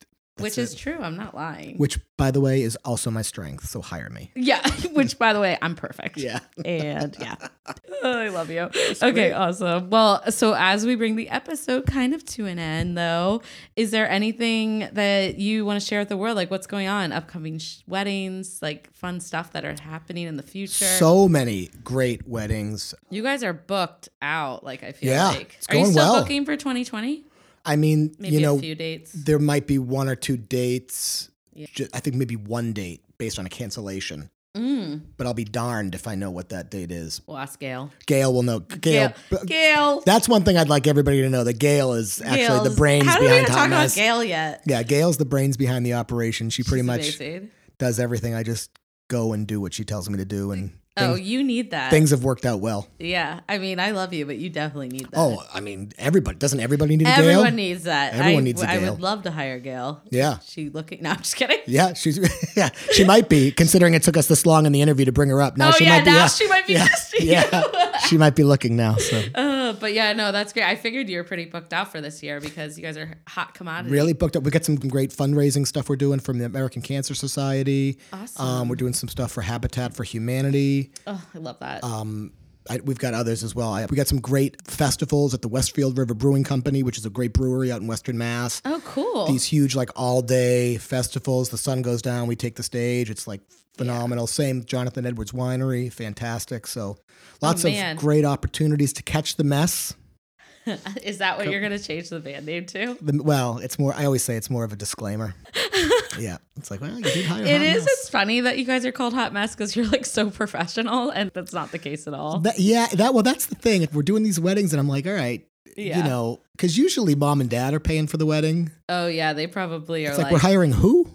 S1: Which
S2: that's
S1: is
S2: it.
S1: true. I'm not lying.
S2: which, by the way, is also my strength. So hire me.
S1: Yeah, which by the way, I'm perfect.
S2: Yeah.
S1: And yeah. Oh, I love you. okay, awesome. Well, so as we bring the episode kind of to an end though, is there anything that you want to share with the world like what's going on, upcoming sh- weddings, like fun stuff that are happening in the future?
S2: So many great weddings.
S1: you guys are booked out like I feel
S2: Yeah,
S1: like.
S2: it's
S1: Are you
S2: going
S1: still
S2: well.
S1: booking for 2020?
S2: I mean,
S1: Maybe
S2: you know,
S1: a few dates.
S2: there might be one or two dates.
S1: Yeah.
S2: Ju- I think maybe one date based on a cancellation,
S1: Mm.
S2: but I'll be darned if I know what that date is.
S1: We'll ask Gail.
S2: Gail will know. Gail.
S1: Gail. Gail.
S2: That's one thing I'd like everybody to know that Gail is actually
S1: Gail's-
S2: the brains
S1: How did we not
S2: behind
S1: talk
S2: Hot
S1: about
S2: Mess.
S1: Gail yet?
S2: Yeah, Gail's the brains behind the operation. She pretty
S1: She's
S2: much
S1: amazing.
S2: does everything. I just go and do what she tells me to do, and
S1: Oh,
S2: things,
S1: you need that.
S2: things have worked out well.
S1: Yeah, I mean, I love you, but you definitely need that.
S2: Oh, I mean, everybody doesn't everybody need a
S1: everyone
S2: Gail?
S1: needs that. I,
S2: Everyone needs a
S1: I
S2: Gail.
S1: would love to hire Gail.
S2: Yeah.
S1: She looking? No, I'm just kidding.
S2: Yeah, she's yeah. She might be considering it took us this long in the interview to bring her up. Now
S1: oh
S2: she
S1: yeah,
S2: might be
S1: now
S2: yeah,
S1: she might be
S2: yeah,
S1: just you.
S2: yeah. she might be looking now. So
S1: Uh, but yeah, no, that's great. I figured you were pretty booked out for this year because you guys are hot commodity.
S2: really booked up. We got some great fundraising stuff we're doing from the American Cancer Society.
S1: Awesome.
S2: Um, we're doing some stuff for Habitat for Humanity.
S1: oh, I love that.
S2: Um, I, we've got others as well. I, we got some great festivals at the Westfield River Brewing Company, which is a great brewery out in Western Mass.
S1: oh, cool.
S2: These huge, like all day festivals. The sun goes down, we take the stage. It's like phenomenal. Same Jonathan Edwards Winery, fantastic. So lots
S1: Oh, man.
S2: of great opportunities to catch the mess.
S1: Is that what you're gonna change the band name to?
S2: The, well, it's more, I always say it's more of a disclaimer. yeah. It's like, well, you did hire
S1: It
S2: hot
S1: is.
S2: mess.
S1: It's funny that you guys are called Hot Mess because you're like so professional, and that's not the case at all.
S2: That, yeah, that well, that's the thing. If we're doing these weddings, and I'm like, all right,
S1: Yeah.
S2: you know, because usually mom and dad are paying for the wedding.
S1: oh yeah, they probably are
S2: It's like, we're hiring who?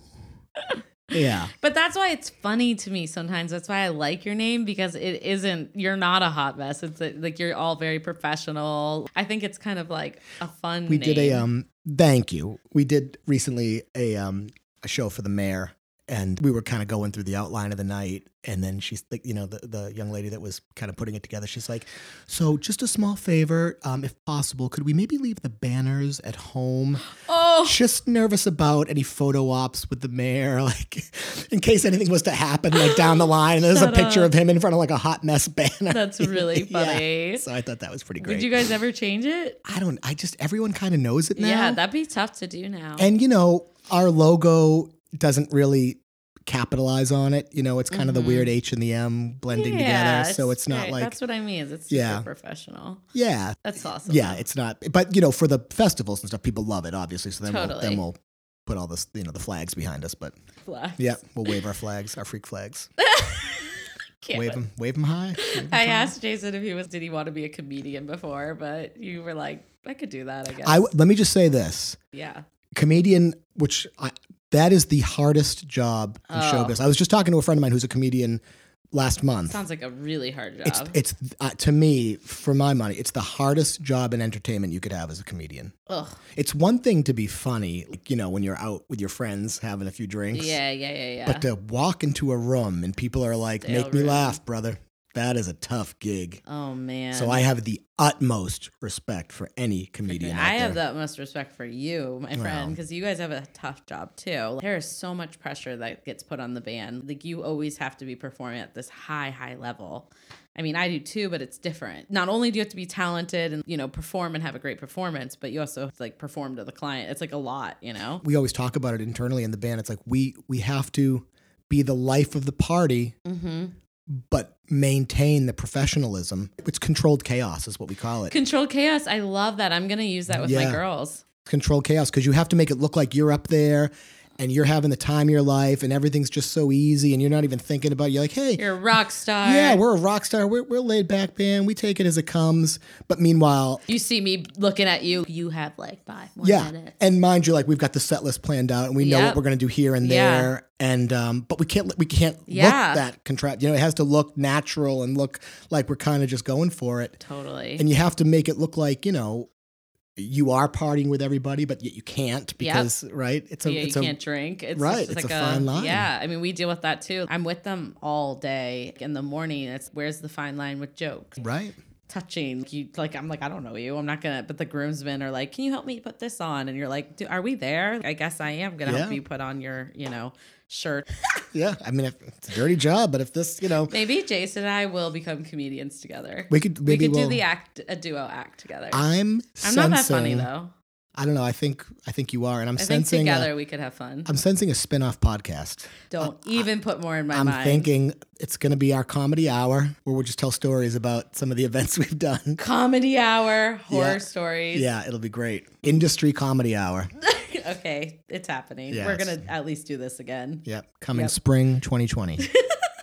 S2: yeah.
S1: But that's why it's funny to me sometimes. That's why I like your name because it isn't, you're not a hot mess. It's uh, like you're all very professional. I think it's kind of like a fun
S2: We did a
S1: name.
S2: um thank you. We did recently a um a show for the mayor and we were kind of going through the outline of the night and then she's like you know the, the young lady that was kind of putting it together she's like so just a small favor um, if possible could we maybe leave the banners at home
S1: Oh,
S2: just nervous about any photo ops with the mayor, like in case anything was to happen, like down the line. There's a
S1: Shut
S2: picture
S1: up.
S2: of him in front of like a hot mess banner.
S1: That's really
S2: Yeah.
S1: funny.
S2: So I thought that was pretty great.
S1: would you guys ever change it?
S2: I don't. I just everyone kind of knows it now.
S1: Yeah, that'd be tough to do now.
S2: and you know our logo doesn't really capitalize on it. You know, it's kind of the
S1: Mm-hmm.
S2: weird H and the M blending together. So it's not
S1: right.
S2: like
S1: That's what I mean. is It's
S2: Yeah.
S1: super professional.
S2: yeah,
S1: That's awesome.
S2: yeah. It's not. But you know, for the festivals and stuff, people love it obviously. So then we'll,
S1: Totally.
S2: then we'll put all this you know the flags behind us, but.
S1: Flex.
S2: Yeah, we'll wave our flags, our freak flags.
S1: Can't
S2: Wave
S1: wait.
S2: them, wave them high. wave 'em
S1: I
S2: tall.
S1: asked Jason if he was, did he want to be a comedian before, but you were like, I could do that, I guess.
S2: I w- let me just say this:
S1: yeah.
S2: comedian, which I, that is the hardest job in
S1: Oh.
S2: showbiz. I was just talking to a friend of mine who's a comedian last month.
S1: Sounds like a really hard job.
S2: it's it's uh, to me, for my money, it's the hardest job in entertainment you could have as a comedian.
S1: Ugh.
S2: It's one thing to be funny, like, you know, when you're out with your friends having a few drinks. uh,
S1: Yeah, yeah, yeah, yeah.
S2: But to walk into a room and people are like,
S1: Stale
S2: "Make me
S1: room.
S2: laugh, brother." that is a tough gig.
S1: Oh man.
S2: So I have the utmost respect for any comedian. out
S1: I have
S2: there.
S1: the utmost respect for you, my friend,
S2: Well.
S1: because you guys have a tough job too. There is so much pressure that gets put on the band. Like you always have to be performing at this high, high level. I mean, I do too, but it's different. Not only do you have to be talented and you know perform and have a great performance, but you also have to like perform to the client. It's like a lot, you know.
S2: We always talk about it internally in the band. It's like we we have to be the life of the party,
S1: Mm-hmm.
S2: but maintain the professionalism. It's controlled chaos, is what we call it.
S1: Controlled chaos. I love that. I'm gonna use that with my
S2: Yeah.
S1: girls.
S2: controlled chaos because you have to make it look like you're up there and you're having the time of your life and everything's just so easy and you're not even thinking about it. You're like, hey,
S1: You're a rock star.
S2: yeah, we're a rock star. We're, we're a laid back band. We take it as it comes. But meanwhile,
S1: you see me looking at you. You have like five more
S2: yeah.
S1: minutes.
S2: And mind you, like we've got the set list planned out and we know
S1: Yep.
S2: what we're going to do here and
S1: Yeah.
S2: there. And, um, but we can't, we can't
S1: Yeah.
S2: look that contract. You know, it has to look natural and look like we're kind of just going for it.
S1: Totally.
S2: and you have to make it look like you know you are partying with everybody but yet you can't because right it's a
S1: yeah,
S2: it's
S1: you
S2: a
S1: can't drink. It's
S2: Right,
S1: Just
S2: it's
S1: like
S2: a fine line.
S1: Yeah, I mean, we deal with that too. I'm with them all day in the morning. It's where's the fine line with jokes,
S2: right
S1: touching. You like, I'm like, I don't know you. I'm not gonna. But the groomsmen are like, can you help me put this on? And you're like, "Do- are we there? I guess I am gonna help
S2: Yeah.
S1: you put on your, you know, shirt.
S2: yeah i mean if, it's a dirty job but if this you know
S1: Maybe Jason and I will become comedians together.
S2: we could maybe
S1: could
S2: we'll,
S1: do the act, a duo act together. I'm,
S2: i'm sensing,
S1: not that funny though.
S2: i don't know i think i think you are and i'm
S1: I think
S2: sensing
S1: together
S2: a,
S1: we could have fun.
S2: i'm sensing a spin-off podcast
S1: don't even put more in my
S2: i'm
S1: mind.
S2: thinking it's going to be our comedy hour where we'll just tell stories about some of the events we've done
S1: comedy hour, horror
S2: Yeah.
S1: stories.
S2: yeah it'll be great industry comedy hour
S1: okay, it's happening.
S2: Yeah,
S1: We're
S2: it's-
S1: gonna at least do this again.
S2: yep coming
S1: Yep.
S2: spring 2020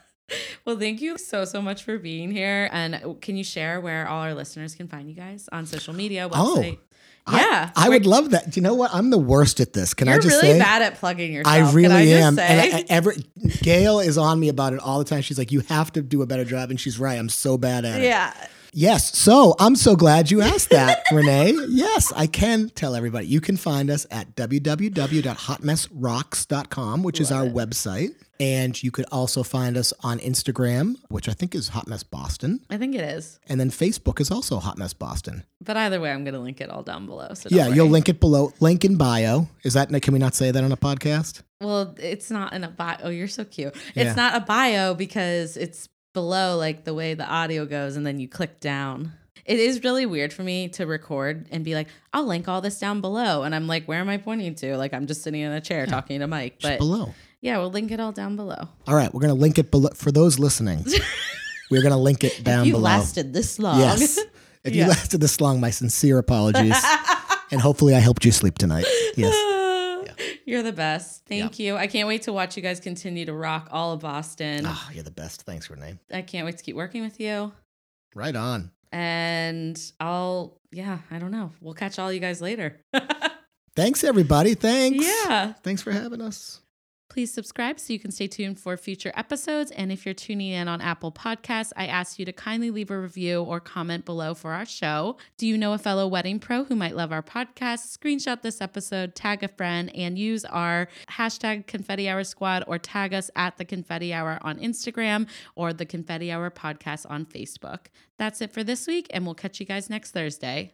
S1: Well, thank you so so much for being here. And can you share where all our listeners can find you guys on social media?
S2: Oh,
S1: Website?
S2: I-
S1: yeah,
S2: I, would love that. Do you know what? I'm the worst at this. Can I
S1: you're
S2: just
S1: really
S2: say?
S1: bad at plugging yourself.
S2: I
S1: Can
S2: really
S1: just
S2: am.
S1: say?
S2: And I, I- every Gail is on me about it all the time. She's like, "You have to do a better job," and she's right. I'm so bad at it.
S1: yeah.
S2: Yes. So I'm so glad you asked that, Renee. Yes, I can tell everybody. You can find us at www.hotmessrocks.com, which is our website, and you could also find us on Instagram, which I think is Hot Mess Boston,
S1: I think it is.
S2: and then Facebook is also Hot Mess Boston.
S1: But either way, I'm going to link it all down below. So don't
S2: Yeah, you'll
S1: worry.
S2: link it below. Link in bio. Is that can we not say that on a podcast?
S1: Well, it's not in a bio. Oh, you're so cute.
S2: Yeah.
S1: It's not a bio because it's below like the way the audio goes and then you click down. It is really weird for me to record and be like, I'll link all this down below. And I'm like, where am I pointing to? Like, I'm just sitting in a chair talking to Mike.
S2: Just
S1: But
S2: below.
S1: yeah, we'll link it all down below.
S2: All right, we're gonna link it below for those listening. we're gonna link it down
S1: you
S2: below.
S1: lasted this long.
S2: Yes. If
S1: Yeah.
S2: you lasted this long, my sincere apologies. and hopefully I helped you sleep tonight. Yes.
S1: You're the best. Thank you. I can't wait to watch you guys continue to rock all of Boston.
S2: Ah, you're the best. Thanks, Renee.
S1: I can't wait to keep working with you.
S2: Right on.
S1: And I'll, yeah, I don't know. We'll catch all you guys later.
S2: Thanks everybody. Thanks.
S1: yeah.
S2: Thanks for having us.
S1: Please subscribe so you can stay tuned for future episodes. And if you're tuning in on Apple Podcasts, I ask you to kindly leave a review or comment below for our show. Do you know a fellow wedding pro who might love our podcast? Screenshot this episode, tag a friend, and use our hashtag confetti hour squad or tag us at the confetti hour on Instagram or the confetti hour podcast on Facebook. That's it for this week, and we'll catch you guys next Thursday.